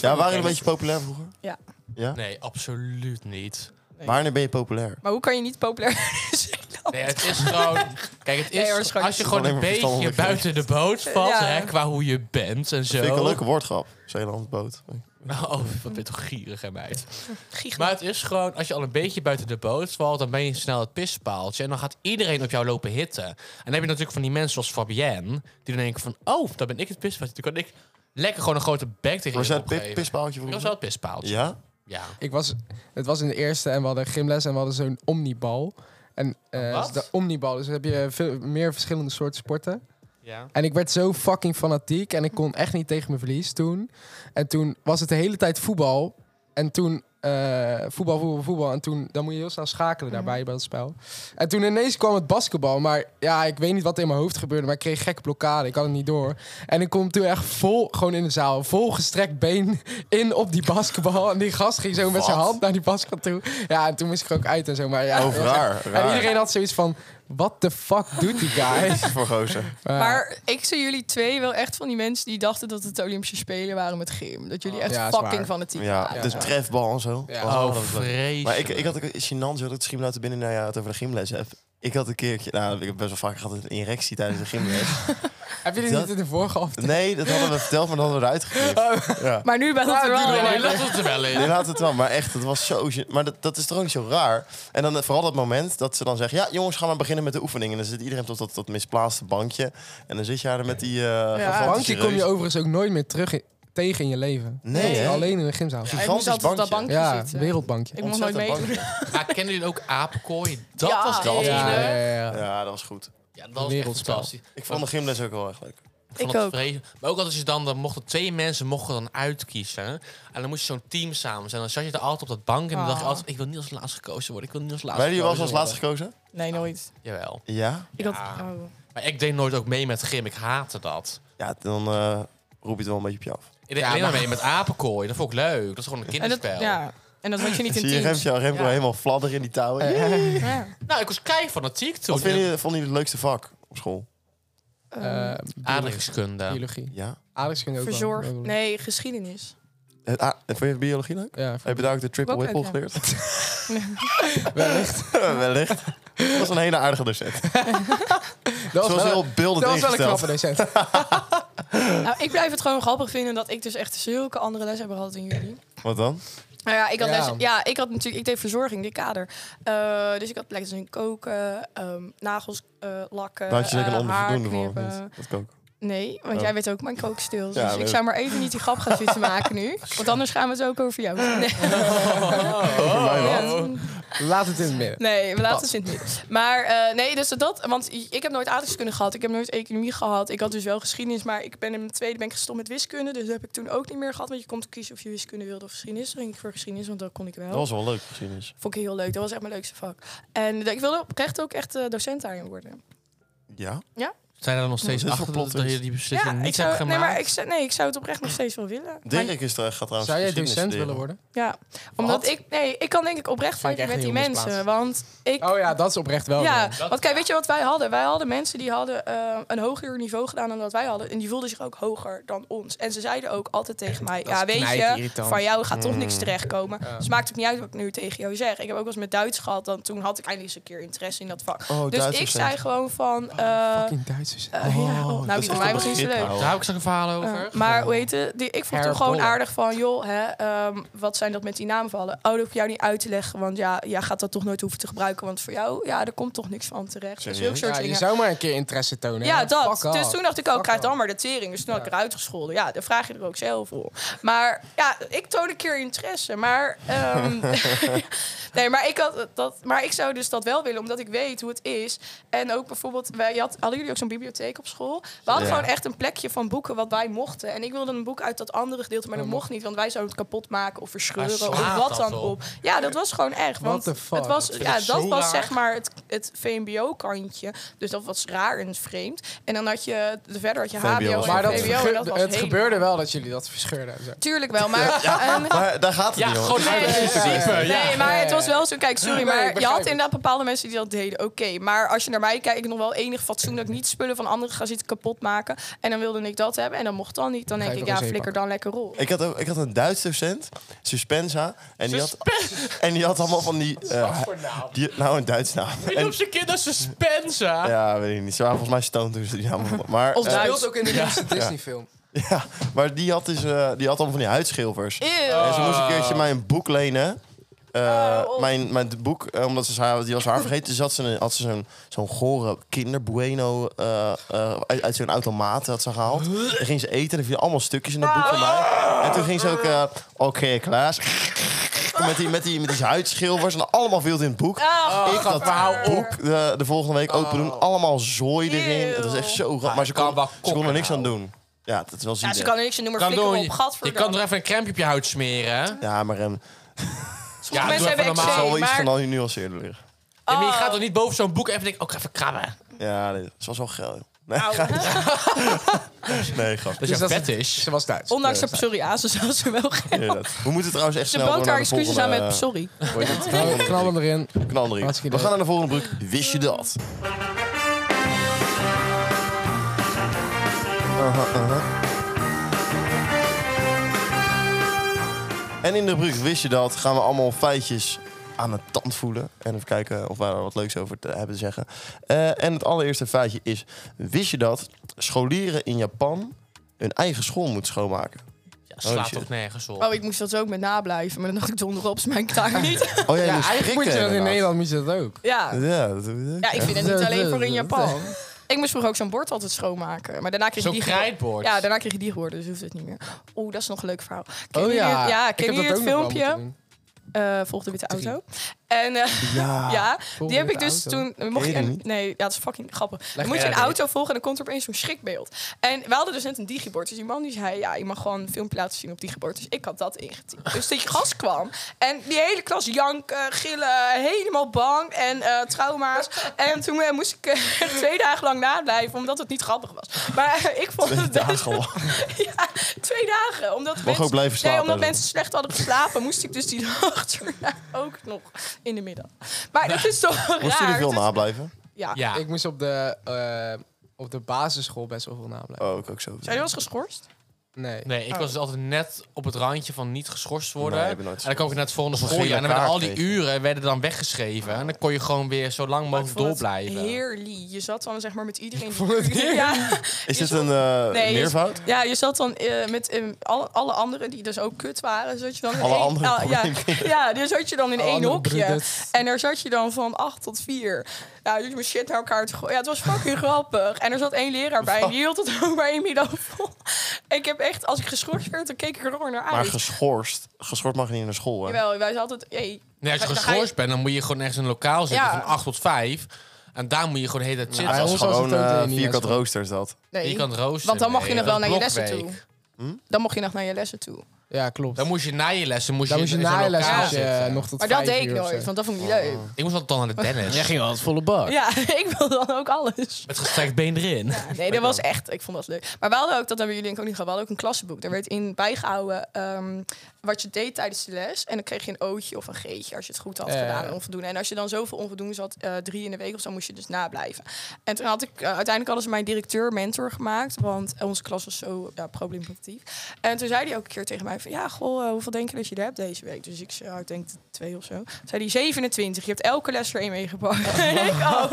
[SPEAKER 1] waren jullie een beetje populair vroeger?
[SPEAKER 3] Ja.
[SPEAKER 1] ja?
[SPEAKER 2] Nee, absoluut niet.
[SPEAKER 1] Wanneer ben je populair?
[SPEAKER 3] Maar hoe kan je niet populair zijn?
[SPEAKER 2] Nee, het is gewoon... Kijk, het
[SPEAKER 3] Nee, hoor, het
[SPEAKER 2] is...
[SPEAKER 3] is gewoon
[SPEAKER 2] als je
[SPEAKER 1] niet-
[SPEAKER 2] gewoon een
[SPEAKER 1] Alleen maar
[SPEAKER 2] beetje
[SPEAKER 1] verstandig.
[SPEAKER 2] buiten de boot valt,
[SPEAKER 3] Ja.
[SPEAKER 2] hè, qua hoe je bent en zo.
[SPEAKER 1] Vind ik een leuke woordgrap. Zeeland, boot.
[SPEAKER 2] Oh, wat ben je toch gierig en meid.
[SPEAKER 3] Giegel.
[SPEAKER 2] Maar het is gewoon, als je al een beetje buiten de boot valt, dan ben je snel het pispaaltje. En dan gaat iedereen op jou lopen hitten. En dan heb je natuurlijk van die mensen zoals Fabienne, die dan denken van, oh, dan ben ik het pispaaltje. Dan kan ik lekker gewoon een grote bek tegen
[SPEAKER 1] Was
[SPEAKER 2] je
[SPEAKER 1] jij het pi-
[SPEAKER 2] opgeven.
[SPEAKER 1] pispaaltje
[SPEAKER 2] Ik was
[SPEAKER 1] vroeger?
[SPEAKER 2] wel het pispaaltje.
[SPEAKER 1] Ja?
[SPEAKER 2] Ja.
[SPEAKER 4] Ik was, het was in de eerste en we hadden gymles en we hadden zo'n omnibal. En eh,
[SPEAKER 2] Wat?
[SPEAKER 4] de omnibal, dus dan heb je veel meer verschillende soorten sporten.
[SPEAKER 2] ja.
[SPEAKER 4] En ik werd zo fucking fanatiek en ik kon echt niet tegen mijn verlies toen. En toen was het de hele tijd voetbal. En toen eh, voetbal, voetbal, voetbal. En toen, dan moet je heel snel schakelen daarbij bij dat spel. En toen ineens kwam het basketbal. Maar ja, ik weet niet wat er in mijn hoofd gebeurde. Maar ik kreeg gekke blokkade. Ik had het niet door. En ik kom toen echt vol, gewoon in de zaal. Vol gestrekt been in op die basketbal. En die gast ging zo met zijn
[SPEAKER 1] Wat?
[SPEAKER 4] hand naar die basketbal toe. Ja, en toen moest ik er ook uit en zo. Maar ja,
[SPEAKER 1] Over Oh, raar.
[SPEAKER 4] en
[SPEAKER 1] raar.
[SPEAKER 4] iedereen had zoiets van, what the fuck doet die guy?
[SPEAKER 1] voor gozer.
[SPEAKER 3] Maar ik zie jullie twee wel echt van die mensen die dachten dat het de Olympische Spelen waren met gym. Dat jullie echt
[SPEAKER 4] Ja, is waar.
[SPEAKER 3] fucking fanatiek
[SPEAKER 1] Ja,
[SPEAKER 3] waren.
[SPEAKER 1] de trefbal en zo.
[SPEAKER 4] Ja.
[SPEAKER 1] Was wel
[SPEAKER 2] Oh,
[SPEAKER 1] leuk.
[SPEAKER 2] vreselijk.
[SPEAKER 1] Maar ik, ik had ook een gênant, joh, dat schiemluid er binnen naar je het over de gymles heb. Ik had een keertje, nou, ik heb best wel vaak gehad een erectie tijdens de gymles.
[SPEAKER 4] Heb je dit
[SPEAKER 1] Dat-
[SPEAKER 4] niet in de vorige aflevering?
[SPEAKER 1] Nee, dat hadden we verteld, maar dat hadden we eruit geknipt.
[SPEAKER 3] Oh,
[SPEAKER 1] Ja.
[SPEAKER 3] Maar nu ben ik er wel.
[SPEAKER 2] Nee, nee,
[SPEAKER 3] in.
[SPEAKER 2] laat het er wel in.
[SPEAKER 1] Nee, laat het wel. Maar echt, het was zo... gen- Maar dat, dat is toch ook zo raar? En dan eh, vooral dat moment dat ze dan zeggen... Ja, jongens, gaan maar beginnen met de oefening. En dan zit iedereen op dat, dat misplaatste bankje. En dan zit je daar met die... eh gigantische
[SPEAKER 4] Bankje kom je
[SPEAKER 1] reus.
[SPEAKER 4] overigens ook nooit meer terug in- tegen in je leven.
[SPEAKER 1] Nee, hè?
[SPEAKER 4] alleen in een gymzaal.
[SPEAKER 3] Hij moest
[SPEAKER 1] Gigantisch
[SPEAKER 3] altijd op dat
[SPEAKER 1] bankje.
[SPEAKER 3] bankje
[SPEAKER 4] Ja,
[SPEAKER 3] zitten.
[SPEAKER 4] wereldbankje.
[SPEAKER 3] Ik mocht nooit
[SPEAKER 1] Ontzettend
[SPEAKER 3] meedoen.
[SPEAKER 1] bankje.
[SPEAKER 2] Maar kennen jullie ook apenkooien? Dat
[SPEAKER 3] Ja,
[SPEAKER 2] was
[SPEAKER 3] ja,
[SPEAKER 2] dat.
[SPEAKER 3] ja,
[SPEAKER 2] Ja,
[SPEAKER 3] ja.
[SPEAKER 1] Ja, dat was goed.
[SPEAKER 2] dat was echt
[SPEAKER 4] Wereldspel.
[SPEAKER 2] fantastisch.
[SPEAKER 1] Ik vond de gymles ook wel echt leuk.
[SPEAKER 2] Ik vond
[SPEAKER 3] Ik
[SPEAKER 2] het
[SPEAKER 3] ook.
[SPEAKER 2] vreselijk. Maar ook altijd als je dan, dan mochten twee mensen mochten dan uitkiezen. En dan moest je zo'n team samen zijn. Dan zat je er altijd op dat bank en dan dacht je
[SPEAKER 3] Ah.
[SPEAKER 2] altijd... Ik wil niet als laatste gekozen worden. Ik wil niet als laatste
[SPEAKER 1] Wij jullie was als
[SPEAKER 2] gekozen
[SPEAKER 1] laatste gekozen?
[SPEAKER 3] Nee, nooit.
[SPEAKER 2] worden. Jawel.
[SPEAKER 1] Ja.
[SPEAKER 3] Ik
[SPEAKER 2] Ja.
[SPEAKER 3] had, oh.
[SPEAKER 2] Maar ik deed nooit ook mee met gym. Ik haatte dat.
[SPEAKER 1] Ja, dan eh, roep je het wel een beetje op je af.
[SPEAKER 2] Ik deed alleen maar mee met apenkooi. Dat vond ik leuk. Dat is gewoon een
[SPEAKER 3] En, dat,
[SPEAKER 2] kinderspel.
[SPEAKER 3] ja. en dat had je niet in
[SPEAKER 1] Zie je
[SPEAKER 3] teams.
[SPEAKER 1] Remco, Remco
[SPEAKER 2] Ja.
[SPEAKER 1] helemaal fladderen in die touwen? Jee.
[SPEAKER 3] Ja.
[SPEAKER 2] Nou, ik was kei fanatiek toen.
[SPEAKER 1] Wat vinden jullie, vonden jullie het leukste vak op school?
[SPEAKER 4] Eh,
[SPEAKER 2] Aardrijkskunde.
[SPEAKER 4] biologie.
[SPEAKER 1] Ja.
[SPEAKER 4] Aardrijkskunde ook wel.
[SPEAKER 3] Verzorgd.
[SPEAKER 4] Ook wel.
[SPEAKER 3] Nee, geschiedenis.
[SPEAKER 1] Het, ah, en vond je biologie leuk?
[SPEAKER 4] Ja, ver-
[SPEAKER 1] Heb je daar ook de triple
[SPEAKER 3] Ook leuk,
[SPEAKER 1] whipple
[SPEAKER 3] ja.
[SPEAKER 1] geleerd? Wellicht. Dat was een hele aardige docent.
[SPEAKER 4] dat
[SPEAKER 1] Ze was
[SPEAKER 4] wel,
[SPEAKER 1] heel beeldend
[SPEAKER 4] dat was wel een
[SPEAKER 1] ingesteld.
[SPEAKER 4] knappe docent.
[SPEAKER 3] Nou, ik blijf het gewoon grappig vinden dat ik dus echt zulke andere lessen heb gehad in jullie.
[SPEAKER 1] Wat dan?
[SPEAKER 3] Nou ja, ik had,
[SPEAKER 4] Ja.
[SPEAKER 3] les- ja, ik had natuurlijk, ik deed verzorging, dit kader. Eh, dus ik had lessen in koken, ehm, nagels eh, lakken,
[SPEAKER 1] Daar had je zeker een
[SPEAKER 3] eh, haar
[SPEAKER 1] ondervoldoende voor. of
[SPEAKER 3] knippen.
[SPEAKER 1] niet? Dat kan ook.
[SPEAKER 3] Nee, want
[SPEAKER 1] Oh.
[SPEAKER 3] jij weet ook mijn kookstils. Dus
[SPEAKER 1] Ja,
[SPEAKER 3] ik
[SPEAKER 1] leuk.
[SPEAKER 3] zou maar even niet die grap gaan zitten maken nu. Want anders gaan we het ook over jou. doen. Nee,
[SPEAKER 1] Over mij wel.
[SPEAKER 3] Ja.
[SPEAKER 4] Laat het in het midden.
[SPEAKER 3] Nee, we laten het in het midden. Maar eh, nee, dus dat, want ik heb nooit aardrijkskunde gehad. Ik heb nooit economie gehad. Ik had dus wel geschiedenis, maar ik ben in mijn tweede ben ik gestopt met wiskunde. Dus dat heb ik toen ook niet meer gehad. Want je kon kiezen of je wiskunde wilde of geschiedenis. Toen ging ik voor geschiedenis, want dat kon ik wel.
[SPEAKER 1] Dat was wel leuk, geschiedenis.
[SPEAKER 3] Vond ik heel leuk. Dat was echt mijn leukste vak. En ik wilde oprecht ook echt eh, docent daarin worden.
[SPEAKER 1] Ja?
[SPEAKER 2] Zijn er nog steeds
[SPEAKER 1] Ja, dat is
[SPEAKER 2] achter
[SPEAKER 1] wel
[SPEAKER 2] dat,
[SPEAKER 1] plot
[SPEAKER 2] dat je
[SPEAKER 1] is.
[SPEAKER 2] die beslissing
[SPEAKER 3] ik
[SPEAKER 2] niet
[SPEAKER 3] zou,
[SPEAKER 2] hebt
[SPEAKER 3] nee,
[SPEAKER 2] gemaakt?
[SPEAKER 3] maar ik, zou- nee, ik zou het oprecht nog steeds wel willen. Maar-
[SPEAKER 1] Dirk is er, gaat trouwens
[SPEAKER 4] Zou jij
[SPEAKER 1] geschiedenis
[SPEAKER 4] docent
[SPEAKER 1] studeren.
[SPEAKER 4] willen worden?
[SPEAKER 3] ja, omdat ik, nee, ik kan denk ik oprecht
[SPEAKER 4] Vind ik
[SPEAKER 3] fighten
[SPEAKER 4] echt
[SPEAKER 3] met die
[SPEAKER 4] heel
[SPEAKER 3] mensen.
[SPEAKER 4] misplaatst.
[SPEAKER 3] Want ik,
[SPEAKER 4] Oh ja, dat is oprecht wel.
[SPEAKER 3] ja,
[SPEAKER 4] zo.
[SPEAKER 3] want kijk, weet je wat wij hadden? Wij hadden mensen die hadden eh, een hoger niveau gedaan dan dat wij hadden. En die voelden zich ook hoger dan ons. En ze zeiden ook altijd tegen mij,
[SPEAKER 4] is Mm.
[SPEAKER 3] ja weet je,
[SPEAKER 4] knijterirritant.
[SPEAKER 3] van jou gaat toch niks terechtkomen. Dus maakt het niet uit wat ik nu tegen jou zeg. Ik heb ook wel eens met Duits gehad, dan, toen had ik eindelijk eens een keer interesse in dat vak.
[SPEAKER 1] Oh,
[SPEAKER 3] dus
[SPEAKER 1] Duits
[SPEAKER 3] ik
[SPEAKER 1] docent.
[SPEAKER 3] zei gewoon van, eh,
[SPEAKER 4] Oh, Fucking Duits succes.
[SPEAKER 3] Eh, ja, oh,
[SPEAKER 1] dat
[SPEAKER 3] nou, die
[SPEAKER 1] is
[SPEAKER 3] van mij
[SPEAKER 1] echt
[SPEAKER 3] was niet zo
[SPEAKER 1] een
[SPEAKER 3] leuk.
[SPEAKER 1] Oh.
[SPEAKER 2] Daar heb ik straks een verhaal
[SPEAKER 3] Eh,
[SPEAKER 2] over.
[SPEAKER 3] maar hoe heet het? Die, ik vroeg toen
[SPEAKER 4] Erg
[SPEAKER 3] gewoon
[SPEAKER 4] dollar.
[SPEAKER 3] aardig van, joh, hè, ehm, wat zijn dat met die naamvallen? Oh, dat hoef ik jou niet uit te leggen, want ja, jij gaat dat toch nooit hoeven te gebruiken, want voor jou, ja, er komt toch niks van terecht. Dus zulke
[SPEAKER 1] Serieus?
[SPEAKER 3] soort
[SPEAKER 4] Ja, je
[SPEAKER 3] dingen.
[SPEAKER 4] zou maar een keer interesse tonen.
[SPEAKER 3] Ja,
[SPEAKER 4] hè.
[SPEAKER 3] dat.
[SPEAKER 4] Fuck
[SPEAKER 3] Dus
[SPEAKER 4] off.
[SPEAKER 3] toen dacht ik ook,
[SPEAKER 4] Fuck
[SPEAKER 3] krijg dan
[SPEAKER 4] off.
[SPEAKER 3] maar de tering. Dus toen had ik eruit gescholden. Ja, dan vraag je er ook zelf voor. Maar ja, ik toonde een keer interesse. Maar, ehm, nee, maar, ik had dat, maar ik zou dus dat wel willen, omdat ik weet hoe het is. En ook bijvoorbeeld, wij had, hadden jullie ook zo'n bibliotheek op school? We hadden
[SPEAKER 1] Ja.
[SPEAKER 3] gewoon echt een plekje van boeken wat wij mochten. En ik wilde een boek uit dat andere gedeelte, maar dat
[SPEAKER 4] Oh, Ah,
[SPEAKER 3] mocht niet. Want wij zouden het kapot maken of verscheuren of
[SPEAKER 2] slaat
[SPEAKER 3] wat
[SPEAKER 2] dat
[SPEAKER 3] dan
[SPEAKER 2] op?
[SPEAKER 3] op. Ja, dat was gewoon echt.
[SPEAKER 4] What
[SPEAKER 3] Want
[SPEAKER 4] the fuck?
[SPEAKER 3] het was,
[SPEAKER 2] Dat vind
[SPEAKER 3] ja,
[SPEAKER 2] ik
[SPEAKER 3] dat
[SPEAKER 2] zo
[SPEAKER 3] was
[SPEAKER 2] raar.
[SPEAKER 3] zeg maar het, het VMBO-kantje. Dus dat was raar en vreemd. En dan had je de- verder had je
[SPEAKER 1] VMBO
[SPEAKER 3] HBO
[SPEAKER 1] was
[SPEAKER 3] en
[SPEAKER 4] Maar dat
[SPEAKER 1] Oké.
[SPEAKER 3] VWO. En
[SPEAKER 4] gebe-
[SPEAKER 3] dat was
[SPEAKER 4] het
[SPEAKER 3] helemaal-
[SPEAKER 4] gebeurde wel dat jullie dat verscheurden. en Zo.
[SPEAKER 3] Tuurlijk wel, maar... en-
[SPEAKER 1] Maar daar gaat het
[SPEAKER 2] Ja,
[SPEAKER 1] niet om.
[SPEAKER 2] gewoon
[SPEAKER 3] Nee,
[SPEAKER 2] uit
[SPEAKER 3] nee,
[SPEAKER 2] principe.
[SPEAKER 4] nee,
[SPEAKER 2] ja.
[SPEAKER 3] Nee, maar het was wel zo. Kijk, sorry,
[SPEAKER 4] Nee, ik
[SPEAKER 3] maar je
[SPEAKER 4] begrijp
[SPEAKER 3] had
[SPEAKER 4] het.
[SPEAKER 3] inderdaad bepaalde mensen die dat deden. Oké, maar als je naar mij kijkt, ik nog wel enig fatsoen dat ik niet spullen van anderen ga zitten kapot maken. En dan wilde ik dat hebben en dan mocht dan niet. Dan
[SPEAKER 4] Ga
[SPEAKER 3] denk
[SPEAKER 4] je
[SPEAKER 3] ik,
[SPEAKER 4] nog
[SPEAKER 3] ja,
[SPEAKER 4] een
[SPEAKER 3] flikker
[SPEAKER 4] zeepak.
[SPEAKER 3] dan lekker rol.
[SPEAKER 1] Ik had, ook, ik had een Duits docent, Suspensa. En die, had, en die had allemaal van die... eh, die nou, een Duits naam.
[SPEAKER 2] Ik
[SPEAKER 1] En,
[SPEAKER 2] noem ze kinderen suspensa.
[SPEAKER 1] ja, weet ik niet. Ze waren volgens mij stoned toen ze die naam hadden. Maar,
[SPEAKER 3] Of
[SPEAKER 1] eh,
[SPEAKER 3] Duits.
[SPEAKER 4] Speelt ook in de nieuwste Disney-film.
[SPEAKER 1] ja, maar die had, dus, eh, die had allemaal van die huidschilvers. En ze moest een
[SPEAKER 2] Ah.
[SPEAKER 1] keertje mij een boek lenen. Eh,
[SPEAKER 3] Oh.
[SPEAKER 1] mijn, mijn boek, eh, omdat ze haar, die was haar vergeten, dus had ze, een- had ze zo'n, zo'n gore kinderbueno eh, eh, uit, uit zo'n automaat had ze gehaald. En ging ze eten en er vielen allemaal stukjes in dat boek van mij. En toen ging ze ook, eh, oké Klaas, met die, met, die, met die huidschilvers en allemaal viel het in het boek.
[SPEAKER 3] Ah,
[SPEAKER 1] ik dat boek de, de volgende week open doen, allemaal zooi erin. Het was echt zo raar, maar ze
[SPEAKER 2] Oh. Ah, kan
[SPEAKER 1] kon,
[SPEAKER 2] wel
[SPEAKER 1] ze kon er
[SPEAKER 2] kokken nou.
[SPEAKER 1] niks aan doen. Ja, dat is wel
[SPEAKER 3] Ja, ze
[SPEAKER 1] zielig.
[SPEAKER 3] kan er niks aan doen, maar
[SPEAKER 2] Kan
[SPEAKER 3] flikker
[SPEAKER 2] doen,
[SPEAKER 3] op.
[SPEAKER 2] je- je
[SPEAKER 3] Gadverdamme.
[SPEAKER 2] kan er even een crème op je huid smeren.
[SPEAKER 1] Ja, maar ehm,
[SPEAKER 2] Ja,
[SPEAKER 3] mensen
[SPEAKER 2] doe even
[SPEAKER 3] hebben Oh.
[SPEAKER 2] normaal.
[SPEAKER 1] het zal
[SPEAKER 3] eczeem.
[SPEAKER 1] wel iets
[SPEAKER 3] maar-
[SPEAKER 1] van al je nuanceerder liggen.
[SPEAKER 2] Ja, maar je gaat toch niet boven zo'n boek even denken, oh, ik ga even krabben.
[SPEAKER 1] Ja, dit was wel geil. joh. Nee,
[SPEAKER 3] Au.
[SPEAKER 1] nee grap.
[SPEAKER 2] Dat is
[SPEAKER 4] Dus
[SPEAKER 2] jouw
[SPEAKER 4] dat is-
[SPEAKER 1] Oh,
[SPEAKER 2] fetish.
[SPEAKER 4] Ze was Duits.
[SPEAKER 3] Ondanks de psoriasis was ze wel gek.
[SPEAKER 1] Inderdaad. We moeten trouwens echt
[SPEAKER 3] Ze
[SPEAKER 1] snel
[SPEAKER 3] bood
[SPEAKER 1] door naar
[SPEAKER 3] haar
[SPEAKER 1] de
[SPEAKER 3] excuses aan met
[SPEAKER 1] volgende...
[SPEAKER 3] sorry.
[SPEAKER 1] hoe heet het?
[SPEAKER 4] Oh, knal hem erin.
[SPEAKER 1] Knal erin.
[SPEAKER 4] Hartstikke
[SPEAKER 1] We
[SPEAKER 4] idee.
[SPEAKER 1] gaan naar de volgende broek. Wist je dat? Aha, aha. En in de brug Wist je dat gaan we allemaal feitjes aan het tand voelen. En even kijken of wij er wat leuks over te hebben te zeggen. Eh, en het allereerste feitje is... Wist je dat scholieren in Japan hun eigen school moeten schoonmaken?
[SPEAKER 2] Ja, slaat
[SPEAKER 1] shit.
[SPEAKER 2] toch nergens op.
[SPEAKER 3] Oh, ik moest dat ook met nablijven, maar dan dacht ik donder op, is mijn taak niet.
[SPEAKER 1] Oh, jij
[SPEAKER 4] Ja,
[SPEAKER 1] moest
[SPEAKER 4] eigenlijk moet je
[SPEAKER 1] prikken,
[SPEAKER 4] dat in
[SPEAKER 1] inderdaad.
[SPEAKER 4] Nederland moet je dat ook.
[SPEAKER 3] Ja.
[SPEAKER 1] Ja, dat doe ik.
[SPEAKER 3] ja, ik vind het niet alleen voor in Japan. Ik moest vroeger ook zo'n bord altijd schoonmaken. Maar daarna kreeg je
[SPEAKER 2] Zo'n
[SPEAKER 3] die
[SPEAKER 2] krijtbord.
[SPEAKER 3] Ja, daarna kreeg je die geworden, dus hoeft het niet meer. Oeh, dat is nog een leuk verhaal. Ken
[SPEAKER 4] Oh
[SPEAKER 3] jullie
[SPEAKER 4] ja,
[SPEAKER 3] het- ja
[SPEAKER 4] ik heb
[SPEAKER 3] ken
[SPEAKER 4] dat
[SPEAKER 3] jullie
[SPEAKER 4] ook
[SPEAKER 3] het
[SPEAKER 4] nog wel moeten
[SPEAKER 3] filmpje?
[SPEAKER 4] doen.
[SPEAKER 3] Eh volg de witte auto. En eh, ja, die heb
[SPEAKER 4] Witte
[SPEAKER 3] ik dus
[SPEAKER 4] Auto.
[SPEAKER 3] toen... Mocht
[SPEAKER 1] Ken je
[SPEAKER 3] je
[SPEAKER 1] die
[SPEAKER 3] een,
[SPEAKER 1] niet?
[SPEAKER 3] nee, ja, dat is fucking grappig. Dan moet je
[SPEAKER 2] maar
[SPEAKER 3] een
[SPEAKER 2] uit.
[SPEAKER 3] auto volgen en dan komt er opeens zo'n schrikbeeld. En we hadden dus net een digibord. Dus die man die zei, ja, je mag gewoon een filmpje laten zien op digibord. Dus ik had dat ingetypt. Dus die gast kwam. En die hele klas janken, gillen, helemaal bang. En eh, trauma's. En toen eh, moest ik eh, twee dagen lang nablijven, omdat het niet grappig was. Maar eh, ik vond het best...
[SPEAKER 1] Dagen lang.
[SPEAKER 3] Ja, twee dagen. Omdat mensen,
[SPEAKER 1] ook blijven slapen,
[SPEAKER 3] Nee, omdat
[SPEAKER 1] hè,
[SPEAKER 3] mensen slecht hadden geslapen, moest ik dus die dag erna ook nog in de middag. Maar dat is toch raar.
[SPEAKER 1] Moesten jullie veel
[SPEAKER 3] Het is-
[SPEAKER 1] nablijven?
[SPEAKER 3] Ja.
[SPEAKER 2] Ja.
[SPEAKER 4] Ik moest op de, eh, op de basisschool best wel veel nablijven.
[SPEAKER 1] Oh, ik ook zo.
[SPEAKER 3] Zijn jullie wel eens geschorst?
[SPEAKER 4] Nee.
[SPEAKER 2] Nee,
[SPEAKER 3] Oh.
[SPEAKER 2] ik was dus altijd net op het randje van niet geschorst worden.
[SPEAKER 1] Nee, ik
[SPEAKER 2] en
[SPEAKER 1] ben
[SPEAKER 2] dan
[SPEAKER 1] nooit
[SPEAKER 2] kwam ik naar het volgende
[SPEAKER 1] Of een
[SPEAKER 2] schooljaar. En
[SPEAKER 1] gele
[SPEAKER 2] dan werden al
[SPEAKER 1] kaart
[SPEAKER 2] die
[SPEAKER 1] kreeg
[SPEAKER 2] uren werden dan weggeschreven. En dan kon je gewoon weer zo lang
[SPEAKER 3] Ik
[SPEAKER 2] mogelijk
[SPEAKER 3] vond
[SPEAKER 2] door
[SPEAKER 3] het
[SPEAKER 2] blijven.
[SPEAKER 3] Heerlijk. Je zat dan zeg maar met iedereen. die ja,
[SPEAKER 1] Is dit
[SPEAKER 3] zat-
[SPEAKER 1] een eh
[SPEAKER 3] Nee, je-
[SPEAKER 1] meervoud?
[SPEAKER 3] ja, je zat dan eh, met eh, alle, alle anderen die dus ook kut waren. Zat je dan in
[SPEAKER 1] Alle
[SPEAKER 3] één-
[SPEAKER 1] andere
[SPEAKER 3] ah, ja, ja, die zat je dan in
[SPEAKER 4] Alle
[SPEAKER 3] één
[SPEAKER 4] andere
[SPEAKER 3] hokje.
[SPEAKER 4] broeders.
[SPEAKER 3] En daar zat je dan van 8 tot 4. Ja, jullie moesten shit naar elkaar te gooien. Ja, het was fucking grappig. En er zat één leraar bij. En die hield het ook maar één middag vol. Ik heb echt, als ik geschorst werd, dan keek ik er gewoon naar
[SPEAKER 1] Maar
[SPEAKER 3] uit.
[SPEAKER 1] geschorst. Geschorst mag je niet in de school, hè?
[SPEAKER 3] Jawel, wij zaten altijd... Hey,
[SPEAKER 2] Nee, als je
[SPEAKER 3] Dan ga
[SPEAKER 2] geschorst bent, dan moet je gewoon ergens in een lokaal zitten
[SPEAKER 3] Ja.
[SPEAKER 2] van 8 tot 5. En daar moet je gewoon de hele tijd zitten.
[SPEAKER 1] Hij
[SPEAKER 4] ons
[SPEAKER 1] was
[SPEAKER 4] was het
[SPEAKER 1] gewoon
[SPEAKER 4] ook
[SPEAKER 1] eh,
[SPEAKER 4] weer niet
[SPEAKER 1] vierkant
[SPEAKER 4] eens, man.
[SPEAKER 1] rooster is dat.
[SPEAKER 3] nee,
[SPEAKER 2] kan roosteren.
[SPEAKER 3] want dan mag je
[SPEAKER 2] nee,
[SPEAKER 3] nog wel
[SPEAKER 2] dat
[SPEAKER 3] naar
[SPEAKER 2] is
[SPEAKER 3] je lessen toe.
[SPEAKER 2] blokweek.
[SPEAKER 3] Dan mocht je nog naar je lessen toe.
[SPEAKER 4] Ja, klopt.
[SPEAKER 2] Dan moest je na je lessen moest
[SPEAKER 4] Dan
[SPEAKER 2] je
[SPEAKER 4] moest je
[SPEAKER 2] in zo'n
[SPEAKER 4] na je les
[SPEAKER 2] lokaal
[SPEAKER 4] als je
[SPEAKER 2] zitten.
[SPEAKER 4] eh, nog tot
[SPEAKER 3] Maar dat
[SPEAKER 4] vijf
[SPEAKER 3] deed ik
[SPEAKER 4] uur of zo.
[SPEAKER 3] nooit, want dat vond ik niet leuk.
[SPEAKER 2] Ik moest altijd dan naar de Dennis.
[SPEAKER 4] Jij ging wel het volle bak.
[SPEAKER 3] Ja, ik wilde dan ook alles.
[SPEAKER 2] Met gestrekt been erin.
[SPEAKER 3] Nee, dat was echt, ik vond dat leuk. Maar we hadden ook, dat hebben jullie denk ik ook niet gehad, we hadden ook een klassenboek. Daar werd in bijgehouden ehm, wat je deed tijdens de les. En dan kreeg je een ootje of een geetje als je het goed had
[SPEAKER 4] Ja, ja,
[SPEAKER 3] gedaan,
[SPEAKER 4] ja.
[SPEAKER 3] een onvoldoende. En als je dan zoveel onvoldoende zat, eh, drie in de week of zo, moest je dus nablijven. En toen had ik, eh, uiteindelijk hadden ze mijn directeur mentor gemaakt, want onze klas was zo ja, problematief. En toen zei hij ook een keer tegen mij hij van, ja, goh, eh, hoeveel denk je dat je er hebt deze week? Dus ik zei, ja, ik denk twee of zo. Zei die 27, je hebt elke les er één meegepakt. en ik, oh,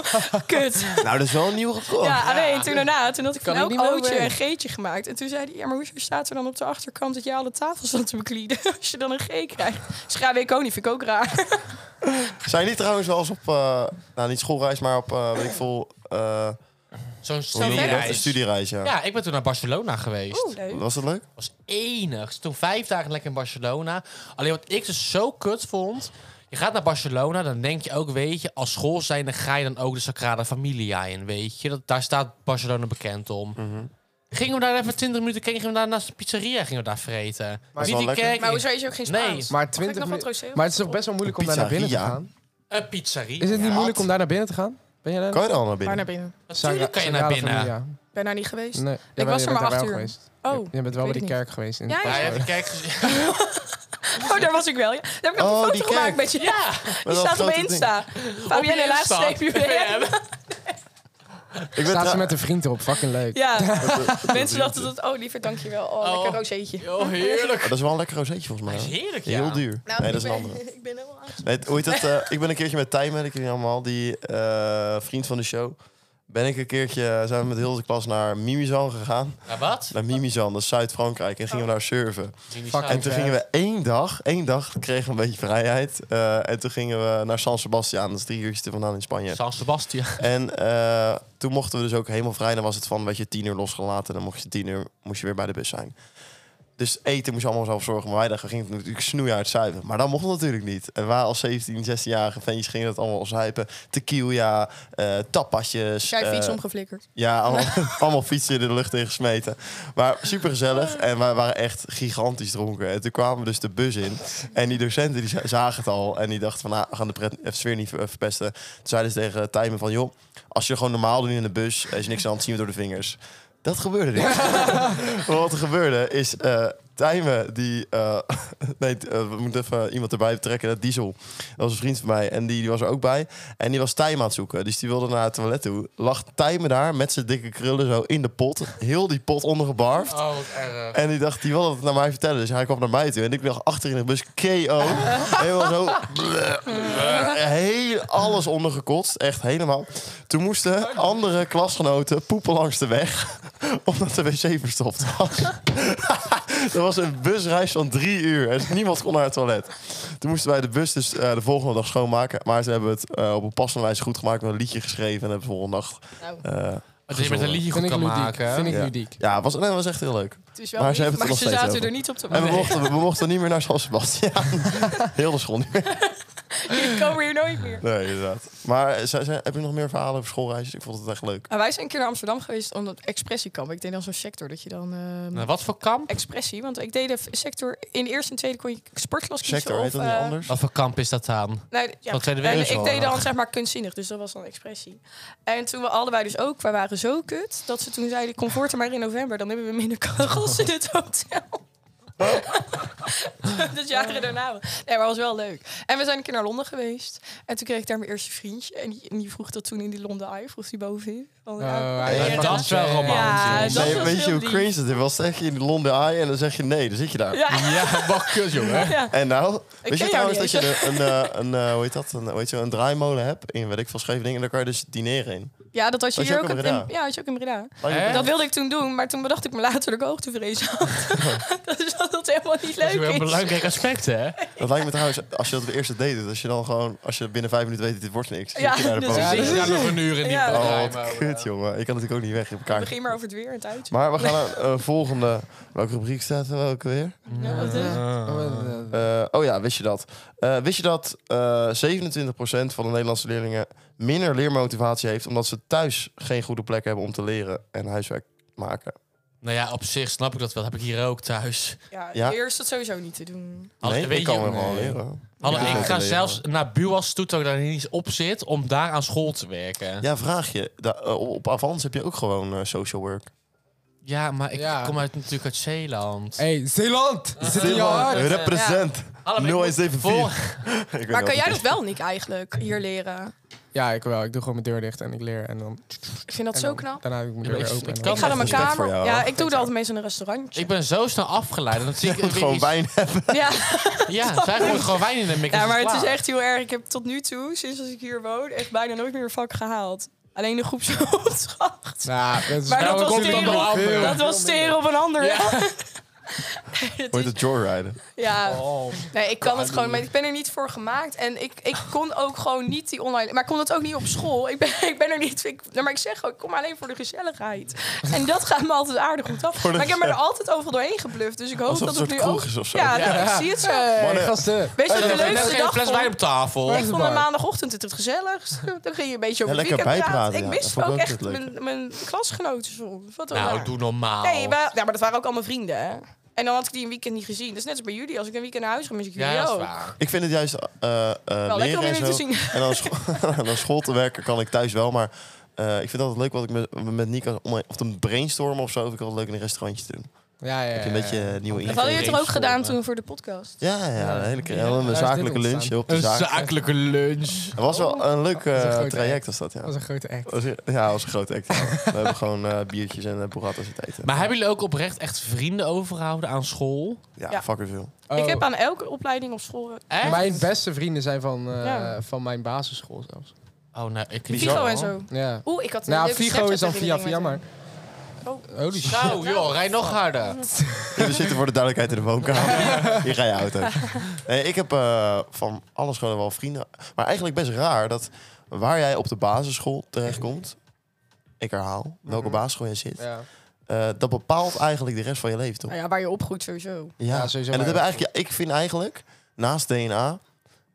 [SPEAKER 3] kut.
[SPEAKER 1] Nou, dat is wel een nieuw record.
[SPEAKER 3] Ja, alleen toen daarna, toen had ik
[SPEAKER 4] Kan ik
[SPEAKER 3] van elk
[SPEAKER 4] niet meer
[SPEAKER 3] ootje
[SPEAKER 4] overheen.
[SPEAKER 3] een geetje gemaakt. En toen zei hij, ja, maar hoezo staat er dan op de achterkant dat je alle tafels aan te beklieden? Als je dan een G krijgt. Dus ga weet ik ook niet, vind ik ook raar.
[SPEAKER 1] Zijn die trouwens wel eens op, eh, nou niet schoolreis, maar op, eh, weet ik veel, eh,
[SPEAKER 2] Zo'n
[SPEAKER 1] hoe noem je dat? Een
[SPEAKER 2] studiereis.
[SPEAKER 1] studiereis, ja.
[SPEAKER 2] Ja, ik ben toen naar Barcelona geweest.
[SPEAKER 3] Oeh, leuk.
[SPEAKER 1] Was dat leuk?
[SPEAKER 2] was enig. Dus Toen vijf dagen lekker in Barcelona. Alleen wat ik dus zo kut vond. Je gaat naar Barcelona, dan denk je ook, weet je, als school zijnde ga je dan ook de Sagrada Familia in, weet je. Dat, daar staat Barcelona bekend om.
[SPEAKER 4] Mhm.
[SPEAKER 2] Gingen we daar even 20 minuten, keken gingen we daar naast de pizzeria, gingen we daar vreten.
[SPEAKER 1] Maar is
[SPEAKER 2] Niet
[SPEAKER 1] wel
[SPEAKER 2] die
[SPEAKER 1] lekker.
[SPEAKER 2] kerk,
[SPEAKER 3] Maar
[SPEAKER 2] maar
[SPEAKER 3] hoezo is er ook geen
[SPEAKER 2] Nee.
[SPEAKER 3] Spaans?
[SPEAKER 4] Maar
[SPEAKER 3] Mag ik
[SPEAKER 4] 20
[SPEAKER 3] nog wat
[SPEAKER 4] minuten.
[SPEAKER 3] rosé?
[SPEAKER 4] Maar het is toch best wel moeilijk om daar naar binnen te
[SPEAKER 1] Pizzeria?
[SPEAKER 4] gaan?
[SPEAKER 2] een pizzeria.
[SPEAKER 4] Is het niet moeilijk om daar naar binnen te gaan? Ben jij daar?
[SPEAKER 1] Kan je dan al naar
[SPEAKER 3] Maar
[SPEAKER 1] binnen?
[SPEAKER 3] naar binnen.
[SPEAKER 2] Natuurlijk kan je naar binnen.
[SPEAKER 4] Ja.
[SPEAKER 3] Ik ben daar niet geweest.
[SPEAKER 4] Nee, jawel,
[SPEAKER 3] was
[SPEAKER 4] je
[SPEAKER 3] er
[SPEAKER 4] bent
[SPEAKER 3] maar
[SPEAKER 4] daar
[SPEAKER 3] acht
[SPEAKER 4] wel
[SPEAKER 3] uur.
[SPEAKER 4] geweest.
[SPEAKER 3] Oh.
[SPEAKER 4] Je bent wel
[SPEAKER 3] weet
[SPEAKER 4] bij
[SPEAKER 3] het
[SPEAKER 4] die
[SPEAKER 3] niet.
[SPEAKER 4] kerk geweest. In
[SPEAKER 3] Ja,
[SPEAKER 2] Ja, je
[SPEAKER 4] Barcelona.
[SPEAKER 2] hebt de kerk gezien.
[SPEAKER 3] Oh, daar was ik wel. Ja. Daar heb ik nog
[SPEAKER 1] Oh,
[SPEAKER 3] een
[SPEAKER 1] die
[SPEAKER 3] foto gemaakt
[SPEAKER 1] kerk.
[SPEAKER 3] met je. Ja, die
[SPEAKER 1] dat
[SPEAKER 3] staat op mijn
[SPEAKER 1] grote
[SPEAKER 3] Insta. Fabienne laatste streep UVM.
[SPEAKER 1] Ik ben
[SPEAKER 4] Staat
[SPEAKER 1] tra-
[SPEAKER 4] ze met een vriend erop. Fucking leuk.
[SPEAKER 3] Ja, mensen dachten dat... Oh, liever dankjewel. Oh,
[SPEAKER 2] Oh.
[SPEAKER 3] lekker rozeetje.
[SPEAKER 2] Oh, heerlijk.
[SPEAKER 1] Dat is wel een lekker rozeetje volgens mij.
[SPEAKER 2] Hij is
[SPEAKER 1] hoor.
[SPEAKER 2] heerlijk, ja.
[SPEAKER 1] Heel duur. nee, dat is een
[SPEAKER 3] Nou, ik ben-
[SPEAKER 1] andere.
[SPEAKER 3] Ik ben helemaal uit.
[SPEAKER 1] Nee, hoe heet dat? eh, ik ben een keertje met Tijmen, ik ken je allemaal, die eh, vriend van de show. Ben ik een keertje, eh, zijn we met heel de klas naar Mimizan gegaan.
[SPEAKER 2] Ja, wat?
[SPEAKER 1] Naar Mimizan, dat is Zuid-Frankrijk. En gingen we daar surfen.
[SPEAKER 2] Nou,
[SPEAKER 4] Fuck.
[SPEAKER 1] En toen gingen we één dag, één dag kregen we een beetje vrijheid. eh, en toen gingen we naar San Sebastian, dat is drie uurtjes er vandaan in Spanje.
[SPEAKER 2] San Sebastian.
[SPEAKER 1] En eh, toen mochten we dus ook helemaal vrij. Dan was het van, weet je, tien uur losgelaten. Dan mocht je tien uur, moest je weer bij de bus zijn. Dus eten moest je allemaal zelf zorgen. Maar wij dachten, we gingen natuurlijk snoeihard zuipen. Maar dat mocht natuurlijk niet. En wij als 17, 16-jarige ventjes gingen dat allemaal zuipen. Tequila, eh tapasjes.
[SPEAKER 3] Jij fiets
[SPEAKER 1] eh,
[SPEAKER 3] omgeflikkerd.
[SPEAKER 1] ja, allemaal, allemaal fietsen in de lucht in gesmeten. Maar super gezellig. En wij waren echt gigantisch dronken. En toen kwamen we dus de bus in. En die docenten die za- zagen het al. En die dachten van, nou, we gaan de pret, eh, sfeer niet ver- eh, verpesten. Toen zeiden ze tegen Tijmen van, joh, als je gewoon normaal doet in de bus, er is niks aan de hand, zien we door de vingers. Dat gebeurde niet. Maar wat er gebeurde is, eh Tijmen die... eh, nee, t- eh, we moeten even iemand erbij betrekken, dat Diesel. Dat was een vriend van mij en die, die was er ook bij. En die was Tijmen aan het zoeken, dus die wilde naar het toilet toe. Lag Tijmen daar met zijn dikke krullen zo in de pot. Heel die pot ondergebarfd.
[SPEAKER 2] Oh, wat erg.
[SPEAKER 1] En die dacht, die wilde het naar mij vertellen. Dus hij kwam naar mij toe. En ik lag achter in de bus, KO. Helemaal zo. Heel alles ondergekotst. Echt helemaal. Toen moesten andere klasgenoten poepen langs de weg. Omdat de wc verstopt was. Dat was een busreis van drie uur. En niemand kon naar het toilet. Toen moesten wij de bus dus eh, de volgende dag schoonmaken. Maar ze hebben het eh, op een passende wijze goed gemaakt. Met een liedje geschreven. En hebben de volgende dag...
[SPEAKER 3] Nou,
[SPEAKER 1] eh,
[SPEAKER 2] Dat je met een liedje
[SPEAKER 4] Vind
[SPEAKER 2] goed
[SPEAKER 4] ik
[SPEAKER 2] kan
[SPEAKER 4] ludiek.
[SPEAKER 2] maken.
[SPEAKER 4] Vind ik
[SPEAKER 1] Ja.
[SPEAKER 4] ludiek.
[SPEAKER 1] ja, het was, nee, het was echt heel leuk.
[SPEAKER 3] het is wel
[SPEAKER 1] maar
[SPEAKER 3] maar
[SPEAKER 1] ze hebben het
[SPEAKER 3] maar
[SPEAKER 1] er
[SPEAKER 3] ze
[SPEAKER 1] nog steeds
[SPEAKER 3] zaten
[SPEAKER 1] over.
[SPEAKER 3] er niet op te
[SPEAKER 1] En we
[SPEAKER 3] wachten.
[SPEAKER 1] mochten, we mochten niet meer naar San Sebastian. Heel de school niet meer.
[SPEAKER 3] Ik kom hier nooit meer.
[SPEAKER 1] Nee, inderdaad. Maar eh, zijn, zijn, heb je nog meer verhalen over schoolreisjes? Ik vond het echt leuk.
[SPEAKER 3] Nou, wij zijn een keer naar Amsterdam geweest om dat expressiekamp. Ik deed dan zo'n sector dat je dan... ehm,
[SPEAKER 2] Nou, wat voor kamp?
[SPEAKER 3] Expressie, want ik deed de v- sector... In de eerste en tweede kon je sportklas kiezen.
[SPEAKER 1] Sector,
[SPEAKER 3] of,
[SPEAKER 1] heet dat niet
[SPEAKER 3] eh,
[SPEAKER 1] anders?
[SPEAKER 2] Wat voor kamp is dat dan?
[SPEAKER 3] Nou, ja,
[SPEAKER 2] Van Tweede
[SPEAKER 3] en ik
[SPEAKER 2] Wereldoorlog.
[SPEAKER 3] deed dan zeg maar kunstzinnig, dus dat was dan expressie. En toen we allebei dus ook, wij waren zo kut, dat ze toen zeiden, kom voort er maar in november, dan hebben we minder kachels in het hotel.
[SPEAKER 1] Oh.
[SPEAKER 3] dat jaren daarna. wel. Nee, maar was wel leuk. En we zijn een keer naar Londen geweest. En toen kreeg ik daar mijn eerste vriendje. En die, en die vroeg dat toen in die Londen Eye, vroeg die bovenin.
[SPEAKER 1] Oh,
[SPEAKER 3] Van, ja,
[SPEAKER 4] Eh,
[SPEAKER 3] wat wil
[SPEAKER 1] hij
[SPEAKER 3] je
[SPEAKER 1] mag
[SPEAKER 3] dan?
[SPEAKER 2] Dat is wel romantisch.
[SPEAKER 3] Ja, dat
[SPEAKER 1] Nee,
[SPEAKER 3] was
[SPEAKER 1] weet je
[SPEAKER 3] heel
[SPEAKER 1] hoe
[SPEAKER 3] lief.
[SPEAKER 1] crazy het is? Was zeg je in Londen Eye en dan zeg je nee, dan zit je daar.
[SPEAKER 3] Ja,
[SPEAKER 2] Ja, wat kut, jongen.
[SPEAKER 3] ja.
[SPEAKER 1] En nou, weet je
[SPEAKER 3] ken jou
[SPEAKER 1] trouwens dat je
[SPEAKER 3] niet
[SPEAKER 1] er een, eh, een, eh, hoe heet dat, een, hoe heet zo, een draaimolen hebt in, weet ik veel, Scheveningen. En daar kan je dus dineren in.
[SPEAKER 3] ja, dat had je
[SPEAKER 1] Was je
[SPEAKER 3] hier
[SPEAKER 1] ook
[SPEAKER 3] ook
[SPEAKER 1] in
[SPEAKER 3] in,
[SPEAKER 1] Breda?
[SPEAKER 3] ja, had je ook in Breda.
[SPEAKER 2] Hè?
[SPEAKER 3] Dat wilde ik toen doen, maar toen bedacht ik me later dat ik hoogtevrees had. dat is dat het helemaal niet
[SPEAKER 2] Dat is wel een
[SPEAKER 3] leuk is.
[SPEAKER 2] belangrijk aspect, hè?
[SPEAKER 1] Dat lijkt me trouwens, als je dat op de eerste date doet, als je dan gewoon, als je binnen vijf minuten weet, dit wordt niks.
[SPEAKER 3] Ja,
[SPEAKER 1] zit je naar de
[SPEAKER 3] dus
[SPEAKER 1] boven.
[SPEAKER 2] zit je daar nog een uur in
[SPEAKER 3] Ja.
[SPEAKER 1] Oh, wat
[SPEAKER 2] bedrijf, maar-
[SPEAKER 1] kut, jongen. Ik kan natuurlijk ook niet weg op elkaar.
[SPEAKER 3] Begin maar over het weer en het uitje.
[SPEAKER 1] Maar we gaan naar een volgende. Welke rubriek staat er welke weer?
[SPEAKER 3] Ja, dus- wat is-
[SPEAKER 4] Eh,
[SPEAKER 1] Eh, oh ja, wist je dat? Eh, wist je dat eh 27% van de Nederlandse leerlingen minder leermotivatie heeft omdat ze thuis geen goede plek hebben om te leren en huiswerk maken?
[SPEAKER 2] Nou ja, op zich snap ik dat wel. Dat heb ik hier ook thuis.
[SPEAKER 3] ja,
[SPEAKER 1] Ja.
[SPEAKER 3] eerst is dat sowieso niet te doen.
[SPEAKER 2] Als-
[SPEAKER 1] nee,
[SPEAKER 2] weet
[SPEAKER 1] ik kan
[SPEAKER 2] je-
[SPEAKER 1] wel gewoon
[SPEAKER 2] nee.
[SPEAKER 1] leren.
[SPEAKER 2] Hallo,
[SPEAKER 1] Ja.
[SPEAKER 2] ik ga
[SPEAKER 1] Ja.
[SPEAKER 2] zelfs naar Buas toe, terwijl ik daar niet eens op zit, om daar aan school te werken. Ja,
[SPEAKER 1] Ja, vraag je. Da- eh, op Avans heb je ook gewoon eh, social work.
[SPEAKER 2] Ja, maar ik
[SPEAKER 4] Ja.
[SPEAKER 2] kom uit, natuurlijk uit Zeeland.
[SPEAKER 4] Hey, Zeeland! Zit in je
[SPEAKER 1] Zeeland,
[SPEAKER 3] eh,
[SPEAKER 4] hart!
[SPEAKER 1] represent.
[SPEAKER 2] Hallo, ik moet
[SPEAKER 1] 0174. Ik weet
[SPEAKER 3] Maar
[SPEAKER 1] niet
[SPEAKER 3] kan
[SPEAKER 1] wat
[SPEAKER 3] jij
[SPEAKER 1] het
[SPEAKER 3] dat wel, Nick, eigenlijk hier leren?
[SPEAKER 4] Ja, ik wel. Ik doe gewoon mijn deur dicht en ik leer. En dan,
[SPEAKER 3] Ik vind dat
[SPEAKER 4] en
[SPEAKER 3] zo
[SPEAKER 4] dan-
[SPEAKER 3] knap.
[SPEAKER 4] Daarna doe ik mijn
[SPEAKER 2] Ja, maar
[SPEAKER 4] deur
[SPEAKER 2] ik-
[SPEAKER 4] open.
[SPEAKER 2] ik
[SPEAKER 4] en
[SPEAKER 2] kan
[SPEAKER 4] dan-
[SPEAKER 3] Ik ga naar mijn
[SPEAKER 1] Respect voor
[SPEAKER 3] kamer.
[SPEAKER 1] jou,
[SPEAKER 3] Ja,
[SPEAKER 1] hoor.
[SPEAKER 3] ik doe dat altijd meestal in een restaurantje.
[SPEAKER 2] Ik ben zo snel afgeleid. Dan zie ik
[SPEAKER 1] is. Gewoon wijn hebben.
[SPEAKER 3] Ja.
[SPEAKER 2] Ja, zij gooit gewoon wijn in de mix.
[SPEAKER 3] ja, maar het is echt heel erg. Ik heb tot nu toe, sinds als ik hier woon, echt bijna nooit meer een vak gehaald. Alleen de groepsopdracht.
[SPEAKER 4] Nou, dat is
[SPEAKER 3] Maar
[SPEAKER 4] wel
[SPEAKER 3] dat
[SPEAKER 4] een
[SPEAKER 3] was
[SPEAKER 4] compliment
[SPEAKER 3] tegen-
[SPEAKER 4] aan veel.
[SPEAKER 3] Dat was steren op een ander. Ja, Het
[SPEAKER 1] Moet
[SPEAKER 3] is-
[SPEAKER 1] je het joyriden?
[SPEAKER 3] ja.
[SPEAKER 2] Oh,
[SPEAKER 3] nee, ik kan het gewoon, maar ik ben er niet voor gemaakt. En ik, ik kon ook gewoon niet die online. Maar ik kon dat ook niet op school. Ik ben, ik ben er niet. Ik, nou, maar ik zeg gewoon, ik kom alleen voor de gezelligheid. En dat gaat me altijd aardig goed af.
[SPEAKER 1] de
[SPEAKER 3] Maar ik heb me er altijd overal doorheen gebluft. Dus ik hoop
[SPEAKER 1] Alsof
[SPEAKER 3] dat
[SPEAKER 1] het
[SPEAKER 3] het
[SPEAKER 1] een
[SPEAKER 3] nu
[SPEAKER 1] soort
[SPEAKER 3] ook.
[SPEAKER 1] kroeg is of zo.
[SPEAKER 3] Ja, nou, ik zie het zo.
[SPEAKER 4] Hey,
[SPEAKER 1] Mannen.
[SPEAKER 4] gasten.
[SPEAKER 3] Weet je wat de
[SPEAKER 2] er ligt
[SPEAKER 3] leukste
[SPEAKER 2] geen
[SPEAKER 3] dag
[SPEAKER 2] fles
[SPEAKER 3] vond?
[SPEAKER 2] wijn op tafel.
[SPEAKER 4] Ja.
[SPEAKER 3] Ik vond de maandagochtend het het gezelligst. Dan ging je een beetje
[SPEAKER 1] Ja,
[SPEAKER 3] over het
[SPEAKER 1] lekker
[SPEAKER 3] weekend
[SPEAKER 1] bijpraten,
[SPEAKER 3] praten.
[SPEAKER 1] ja.
[SPEAKER 3] Ik
[SPEAKER 1] Dat
[SPEAKER 3] miste
[SPEAKER 1] vond ik
[SPEAKER 3] ook
[SPEAKER 1] ook het
[SPEAKER 3] echt mijn, mijn klasgenoten soms. Wat dan
[SPEAKER 2] Nou, doe normaal.
[SPEAKER 3] Nee, maar, ja, maar dat waren ook allemaal vrienden, hè. En dan had ik die een weekend niet gezien. Dat is net als bij jullie. Als ik een weekend naar huis ga, mis ik jullie
[SPEAKER 2] Ja, dat is
[SPEAKER 3] ook.
[SPEAKER 2] waar.
[SPEAKER 1] Ik vind het juist eh, eh,
[SPEAKER 3] lekker
[SPEAKER 1] leren
[SPEAKER 3] om
[SPEAKER 1] en
[SPEAKER 3] jullie te
[SPEAKER 1] zo.
[SPEAKER 3] zien.
[SPEAKER 1] En dan scho- en dan school te werken kan ik thuis wel, maar eh, ik vind het altijd leuk wat ik met, met Nico om, of te brainstormen of zo. Vind ik altijd leuk in een restaurantje te doen.
[SPEAKER 4] Ja, ja, ja.
[SPEAKER 1] Heb je een beetje eh, nieuwe
[SPEAKER 3] Dat
[SPEAKER 1] invallen.
[SPEAKER 3] hadden jullie het er ook
[SPEAKER 2] brainstormen.
[SPEAKER 3] gedaan toen voor de podcast.
[SPEAKER 1] Ja, ja, een hele keer.
[SPEAKER 4] Ja, daar
[SPEAKER 1] een
[SPEAKER 4] is
[SPEAKER 1] zakelijke
[SPEAKER 4] dit
[SPEAKER 1] lunch
[SPEAKER 4] ontstaan.
[SPEAKER 1] op de zaak.
[SPEAKER 2] lunch.
[SPEAKER 1] Het was wel een leuk
[SPEAKER 4] is een
[SPEAKER 1] eh,
[SPEAKER 4] grote act.
[SPEAKER 1] traject was dat, ja.
[SPEAKER 4] Dat was een grote act.
[SPEAKER 1] Was- Ja, dat was een grote act. ja. We hebben gewoon eh, biertjes en uh, burratas zitten eten.
[SPEAKER 2] Maar hebben jullie ook oprecht echt vrienden overgehouden aan school?
[SPEAKER 1] ja,
[SPEAKER 3] Ja.
[SPEAKER 1] fucker veel.
[SPEAKER 4] Oh,
[SPEAKER 3] Ik heb aan elke opleiding op school... eh,
[SPEAKER 2] Echt?
[SPEAKER 4] Mijn beste vrienden zijn van, eh,
[SPEAKER 3] Ja.
[SPEAKER 4] van mijn basisschool zelfs.
[SPEAKER 2] Oh, nou, ik
[SPEAKER 1] Bizar.
[SPEAKER 3] Vigo en zo.
[SPEAKER 4] Ja.
[SPEAKER 3] Oeh, ik had een
[SPEAKER 4] Nou,
[SPEAKER 3] leuke
[SPEAKER 4] Figo is dan via
[SPEAKER 3] Snapchat-herinnering
[SPEAKER 4] via, maar...
[SPEAKER 3] met Oh.
[SPEAKER 4] Holy shit.
[SPEAKER 2] Zo, joh, rij nog harder.
[SPEAKER 1] We zitten voor de duidelijkheid in de woonkamer. Hier ga je auto. Nee, ik heb eh, van alle scholen wel vrienden. Maar eigenlijk best raar dat waar jij op de basisschool terechtkomt... Ik herhaal, welke basisschool jij zit...
[SPEAKER 4] Ja.
[SPEAKER 1] eh, dat bepaalt eigenlijk de rest van je leven,
[SPEAKER 3] hem.
[SPEAKER 1] toch?
[SPEAKER 3] Nou ja, waar je opgroeit sowieso.
[SPEAKER 1] Ja,
[SPEAKER 4] Ja, sowieso
[SPEAKER 1] En dat
[SPEAKER 4] maar-
[SPEAKER 1] hebben eigenlijk, ik vind eigenlijk, naast DNA...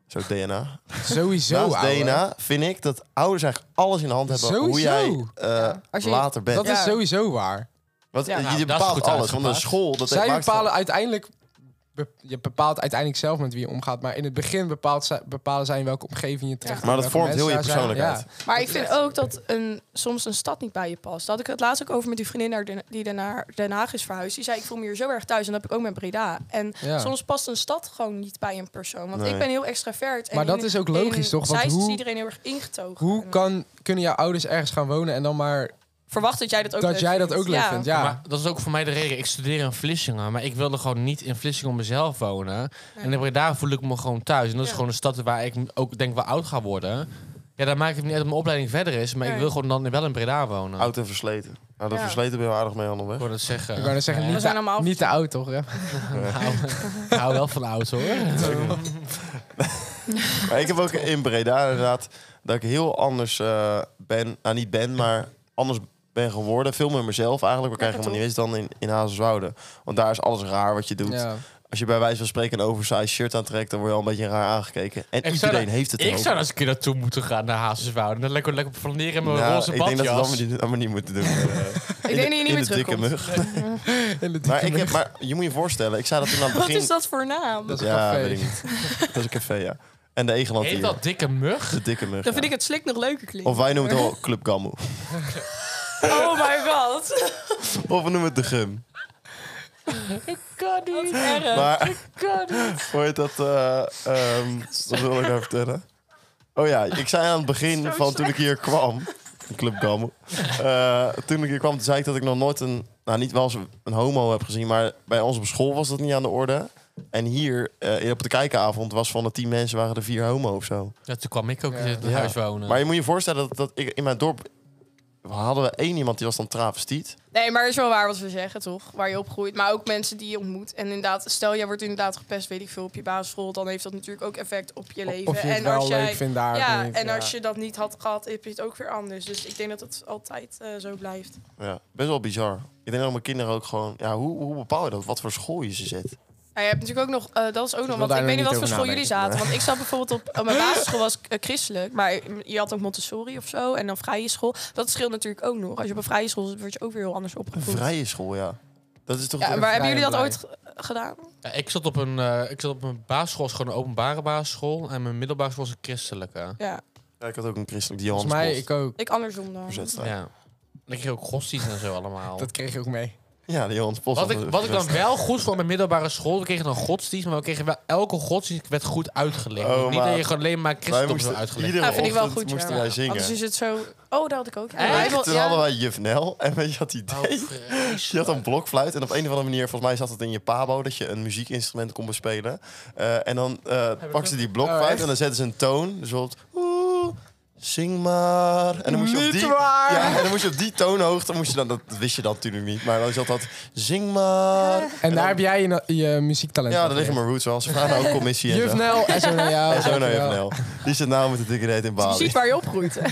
[SPEAKER 1] Zo DNA.
[SPEAKER 4] Sowieso,
[SPEAKER 1] naast
[SPEAKER 4] ouwe.
[SPEAKER 1] DNA vind ik dat ouders eigenlijk alles in de hand hebben... hoe
[SPEAKER 4] Sowieso.
[SPEAKER 1] jij eh,
[SPEAKER 3] als je-
[SPEAKER 1] later bent.
[SPEAKER 4] Dat is
[SPEAKER 3] Ja.
[SPEAKER 4] sowieso waar.
[SPEAKER 1] Want
[SPEAKER 3] Ja,
[SPEAKER 1] eh,
[SPEAKER 2] nou,
[SPEAKER 1] je
[SPEAKER 2] dat is
[SPEAKER 1] bepaalt
[SPEAKER 2] goed
[SPEAKER 1] alles.
[SPEAKER 2] uitgepakt.
[SPEAKER 1] Want een school... Dat
[SPEAKER 4] Zij
[SPEAKER 1] maakt-
[SPEAKER 4] bepalen uiteindelijk... be- Je bepaalt uiteindelijk zelf met wie je omgaat. Maar in het begin bepaalt zij, bepalen zij in welke omgeving je terecht
[SPEAKER 3] Ja.
[SPEAKER 1] Maar dat
[SPEAKER 4] welke
[SPEAKER 1] vormt heel je
[SPEAKER 4] mensen daar zijn.
[SPEAKER 1] persoonlijkheid.
[SPEAKER 3] Maar ik vind ook dat een, soms een stad niet bij je past. Daar had ik het laatst ook over met die vriendin naar Den- die naar Den Haag is verhuisd. Die zei, ik voel me hier zo erg thuis. En dat heb ik ook met Breda. En
[SPEAKER 4] Ja.
[SPEAKER 3] soms past een stad gewoon niet bij een persoon. Want
[SPEAKER 1] Nee.
[SPEAKER 3] ik ben heel extravert. En
[SPEAKER 4] Maar dat is ook logisch, toch? Want
[SPEAKER 3] Want
[SPEAKER 4] hoe-
[SPEAKER 3] is iedereen heel erg ingetogen.
[SPEAKER 4] Hoe
[SPEAKER 3] En
[SPEAKER 4] kan, kunnen jouw ouders ergens gaan wonen en dan maar
[SPEAKER 3] Verwacht dat jij dat ook
[SPEAKER 4] dat
[SPEAKER 3] leuk
[SPEAKER 4] jij dat ook leuk
[SPEAKER 3] Ja.
[SPEAKER 4] vindt? Ja.
[SPEAKER 2] Maar dat is ook voor mij de reden. Ik studeer in Vlissingen, maar ik wilde gewoon niet in Vlissingen mezelf wonen. En in Breda voel ik me gewoon thuis. En dat is
[SPEAKER 3] Ja.
[SPEAKER 2] gewoon een stad waar ik ook denk wel oud ga worden. Ja, dan maakt het niet uit of mijn opleiding verder is, maar ik
[SPEAKER 3] Nee.
[SPEAKER 2] wil gewoon dan wel in Breda wonen.
[SPEAKER 1] Oud en versleten. Nou, dat
[SPEAKER 3] Ja.
[SPEAKER 1] versleten ben je wel aardig mee onderweg.
[SPEAKER 2] Ik wou dat zeggen.
[SPEAKER 4] Ik wou net zeggen,
[SPEAKER 2] Ja.
[SPEAKER 4] niet,
[SPEAKER 3] zijn
[SPEAKER 4] te,
[SPEAKER 3] allemaal
[SPEAKER 4] niet te oud toch? hè?
[SPEAKER 2] Nou, ik hou wel van oud hoor.
[SPEAKER 1] Maar ik heb ook in Breda inderdaad dat ik heel anders eh, ben. Nou, niet ben, maar anders ben geworden. Veel meer mezelf eigenlijk. Wat ik
[SPEAKER 3] Lekker
[SPEAKER 1] eigenlijk helemaal niet wist dan in, in Hazerswoude. Want daar is alles raar wat je doet.
[SPEAKER 4] Ja.
[SPEAKER 1] Als je bij wijze van spreken een oversized shirt aantrekt... dan word je al een beetje raar aangekeken. En
[SPEAKER 2] Ik zou
[SPEAKER 1] iedereen
[SPEAKER 2] dat-
[SPEAKER 1] heeft het
[SPEAKER 2] Ik
[SPEAKER 1] ook.
[SPEAKER 2] zou als een keer naartoe moeten gaan naar Hazeswouden. Dan lekker, lekker flaneren in mijn
[SPEAKER 1] Nou,
[SPEAKER 2] roze
[SPEAKER 1] ik denk dat we dat
[SPEAKER 2] badjas.
[SPEAKER 1] allemaal niet, allemaal niet moeten doen. eh,
[SPEAKER 3] Ik denk dat je niet meer
[SPEAKER 1] in de dikke
[SPEAKER 3] terugkomt.
[SPEAKER 1] mug. Maar, ik heb, maar je moet je voorstellen, ik zei dat toen aan het
[SPEAKER 3] Wat
[SPEAKER 1] begin...
[SPEAKER 3] is dat voor naam?
[SPEAKER 4] Dat is een
[SPEAKER 1] Ja,
[SPEAKER 4] café.
[SPEAKER 1] weet ik niet. Dat is een café, ja. En de Egeland
[SPEAKER 2] Heet
[SPEAKER 1] hier.
[SPEAKER 2] dat dikke mug?
[SPEAKER 1] De dikke mug.
[SPEAKER 3] Dan vind
[SPEAKER 1] ja.
[SPEAKER 3] ik het slik nog leuker klinken.
[SPEAKER 1] Of wij noemen het wel Club Gamoe.
[SPEAKER 3] Oh my god.
[SPEAKER 1] Of we noemen het de gum.
[SPEAKER 3] Kan niet. Erg.
[SPEAKER 1] Maar
[SPEAKER 3] Kan niet.
[SPEAKER 1] hoe heet dat? eh, ehm, wat wil ik nou vertellen? Oh ja, ik zei aan het begin
[SPEAKER 3] Zo
[SPEAKER 1] van toen ik hier kwam. Club Gamoe. eh, toen ik hier kwam, toen zei ik dat ik nog nooit een... Nou, niet wel eens een homo heb gezien, maar bij ons op school was dat niet aan de orde. En hier, eh, op de kijkavond, was van de tien mensen waren er vier homo of zo.
[SPEAKER 2] Ja, toen kwam ik ook
[SPEAKER 4] Ja.
[SPEAKER 2] in het
[SPEAKER 1] Ja.
[SPEAKER 2] huis wonen.
[SPEAKER 1] Maar je moet je voorstellen dat, dat ik in mijn dorp... Hadden we één iemand die was dan travestiet.
[SPEAKER 3] Nee, maar het is wel waar wat we zeggen, toch? Waar je opgroeit, maar ook mensen die je ontmoet. En inderdaad, stel jij wordt inderdaad gepest, weet ik veel, op je basisschool... dan heeft dat natuurlijk ook effect op je leven.
[SPEAKER 4] Of je het
[SPEAKER 3] en
[SPEAKER 4] wel
[SPEAKER 3] als jij,
[SPEAKER 4] leuk vindt daar.
[SPEAKER 3] Ja,
[SPEAKER 4] of niet,
[SPEAKER 3] en als je dat niet had gehad, heb je het ook weer anders. Dus ik denk dat het altijd eh, zo blijft.
[SPEAKER 1] Ja, best wel bizar. Ik denk dat mijn kinderen ook gewoon... Ja, hoe, hoe bepaal je dat? Wat voor school je ze zet?
[SPEAKER 3] Maar je hebt natuurlijk ook nog, eh, dat is ook nog,
[SPEAKER 4] wil
[SPEAKER 3] want
[SPEAKER 4] daar
[SPEAKER 3] ik weet
[SPEAKER 4] nog
[SPEAKER 3] niet wat
[SPEAKER 4] niet
[SPEAKER 3] voor
[SPEAKER 4] over
[SPEAKER 3] school jullie
[SPEAKER 4] nadenken.
[SPEAKER 3] zaten. Want ik zat bijvoorbeeld op, op mijn basisschool was ik eh, christelijk, maar je had ook Montessori of zo en dan vrije school. Dat scheelt natuurlijk ook nog. Als je op een vrije school zit, word je ook weer heel anders
[SPEAKER 1] Een
[SPEAKER 3] opgevoed.
[SPEAKER 1] vrije school, ja. Dat is toch...
[SPEAKER 3] Ja,
[SPEAKER 1] maar...
[SPEAKER 3] maar hebben
[SPEAKER 4] vrij
[SPEAKER 3] jullie dat
[SPEAKER 4] en
[SPEAKER 3] ooit ge- gedaan?
[SPEAKER 2] Ja, ik, zat op een, eh, ik zat op een basisschool, is gewoon een openbare basisschool. En mijn middelbare school is een christelijke.
[SPEAKER 3] Ja,
[SPEAKER 1] ik had ook een christelijk die Johannes
[SPEAKER 4] Volgens mij,
[SPEAKER 1] mij,
[SPEAKER 4] ik ook.
[SPEAKER 3] ik andersom dan.
[SPEAKER 2] Ja. En ik kreeg ook godsdienst en zo allemaal.
[SPEAKER 4] Dat kreeg je ook mee.
[SPEAKER 1] Ja, de Johan Pos.
[SPEAKER 2] Wat ik, wat ik dan wel goed vond bij middelbare school, we kregen dan godsdienst, maar we kregen wel, elke godsdienst werd goed uitgelegd.
[SPEAKER 1] Oh,
[SPEAKER 2] niet
[SPEAKER 1] maar-
[SPEAKER 2] dat je gewoon alleen maar
[SPEAKER 1] Wij
[SPEAKER 2] christendom
[SPEAKER 1] moesten
[SPEAKER 2] werd uitgelegd.
[SPEAKER 1] iedere
[SPEAKER 3] Ja, vind ik wel
[SPEAKER 1] ochtend
[SPEAKER 3] goed, ja.
[SPEAKER 1] moesten wij zingen. Nou,
[SPEAKER 3] Anders is het zo... Oh, dat had ik ook. Ja.
[SPEAKER 2] Echt?
[SPEAKER 1] Weet
[SPEAKER 3] Ja,
[SPEAKER 1] je,
[SPEAKER 3] ik wil-
[SPEAKER 1] toen
[SPEAKER 3] ja.
[SPEAKER 1] hadden wij juf Nel en weet je wat die deed?
[SPEAKER 2] Oh, vreselijk.
[SPEAKER 1] Je had een blokfluit en op een of andere manier, volgens mij zat het in je pabo, dat je een muziekinstrument kon bespelen. Eh, en dan eh pakte ze die
[SPEAKER 4] Oh,
[SPEAKER 1] blokfluit
[SPEAKER 4] echt?
[SPEAKER 1] en dan zetten ze een toon. Dus bijvoorbeeld, oeh, zing maar. En dan moest je op
[SPEAKER 4] Niet
[SPEAKER 1] die,
[SPEAKER 4] waar!
[SPEAKER 1] Ja, en dan moest je op die toonhoogte, moest je dan, dat wist je dan natuurlijk niet, maar dan zat dat, zing maar.
[SPEAKER 4] En daar heb jij je, je muziektalent
[SPEAKER 1] Ja,
[SPEAKER 4] van
[SPEAKER 1] daar liggen mijn roots wel. Ze vragen nou ook commissie en
[SPEAKER 4] Juf
[SPEAKER 1] zo.
[SPEAKER 4] Nel, en zo naar jou.
[SPEAKER 1] En zo naar juf
[SPEAKER 4] dankjewel.
[SPEAKER 1] Nel. Die zit nou met de dikke reet in
[SPEAKER 3] Je
[SPEAKER 1] Bali.
[SPEAKER 3] ziet waar je opgroeit. hè.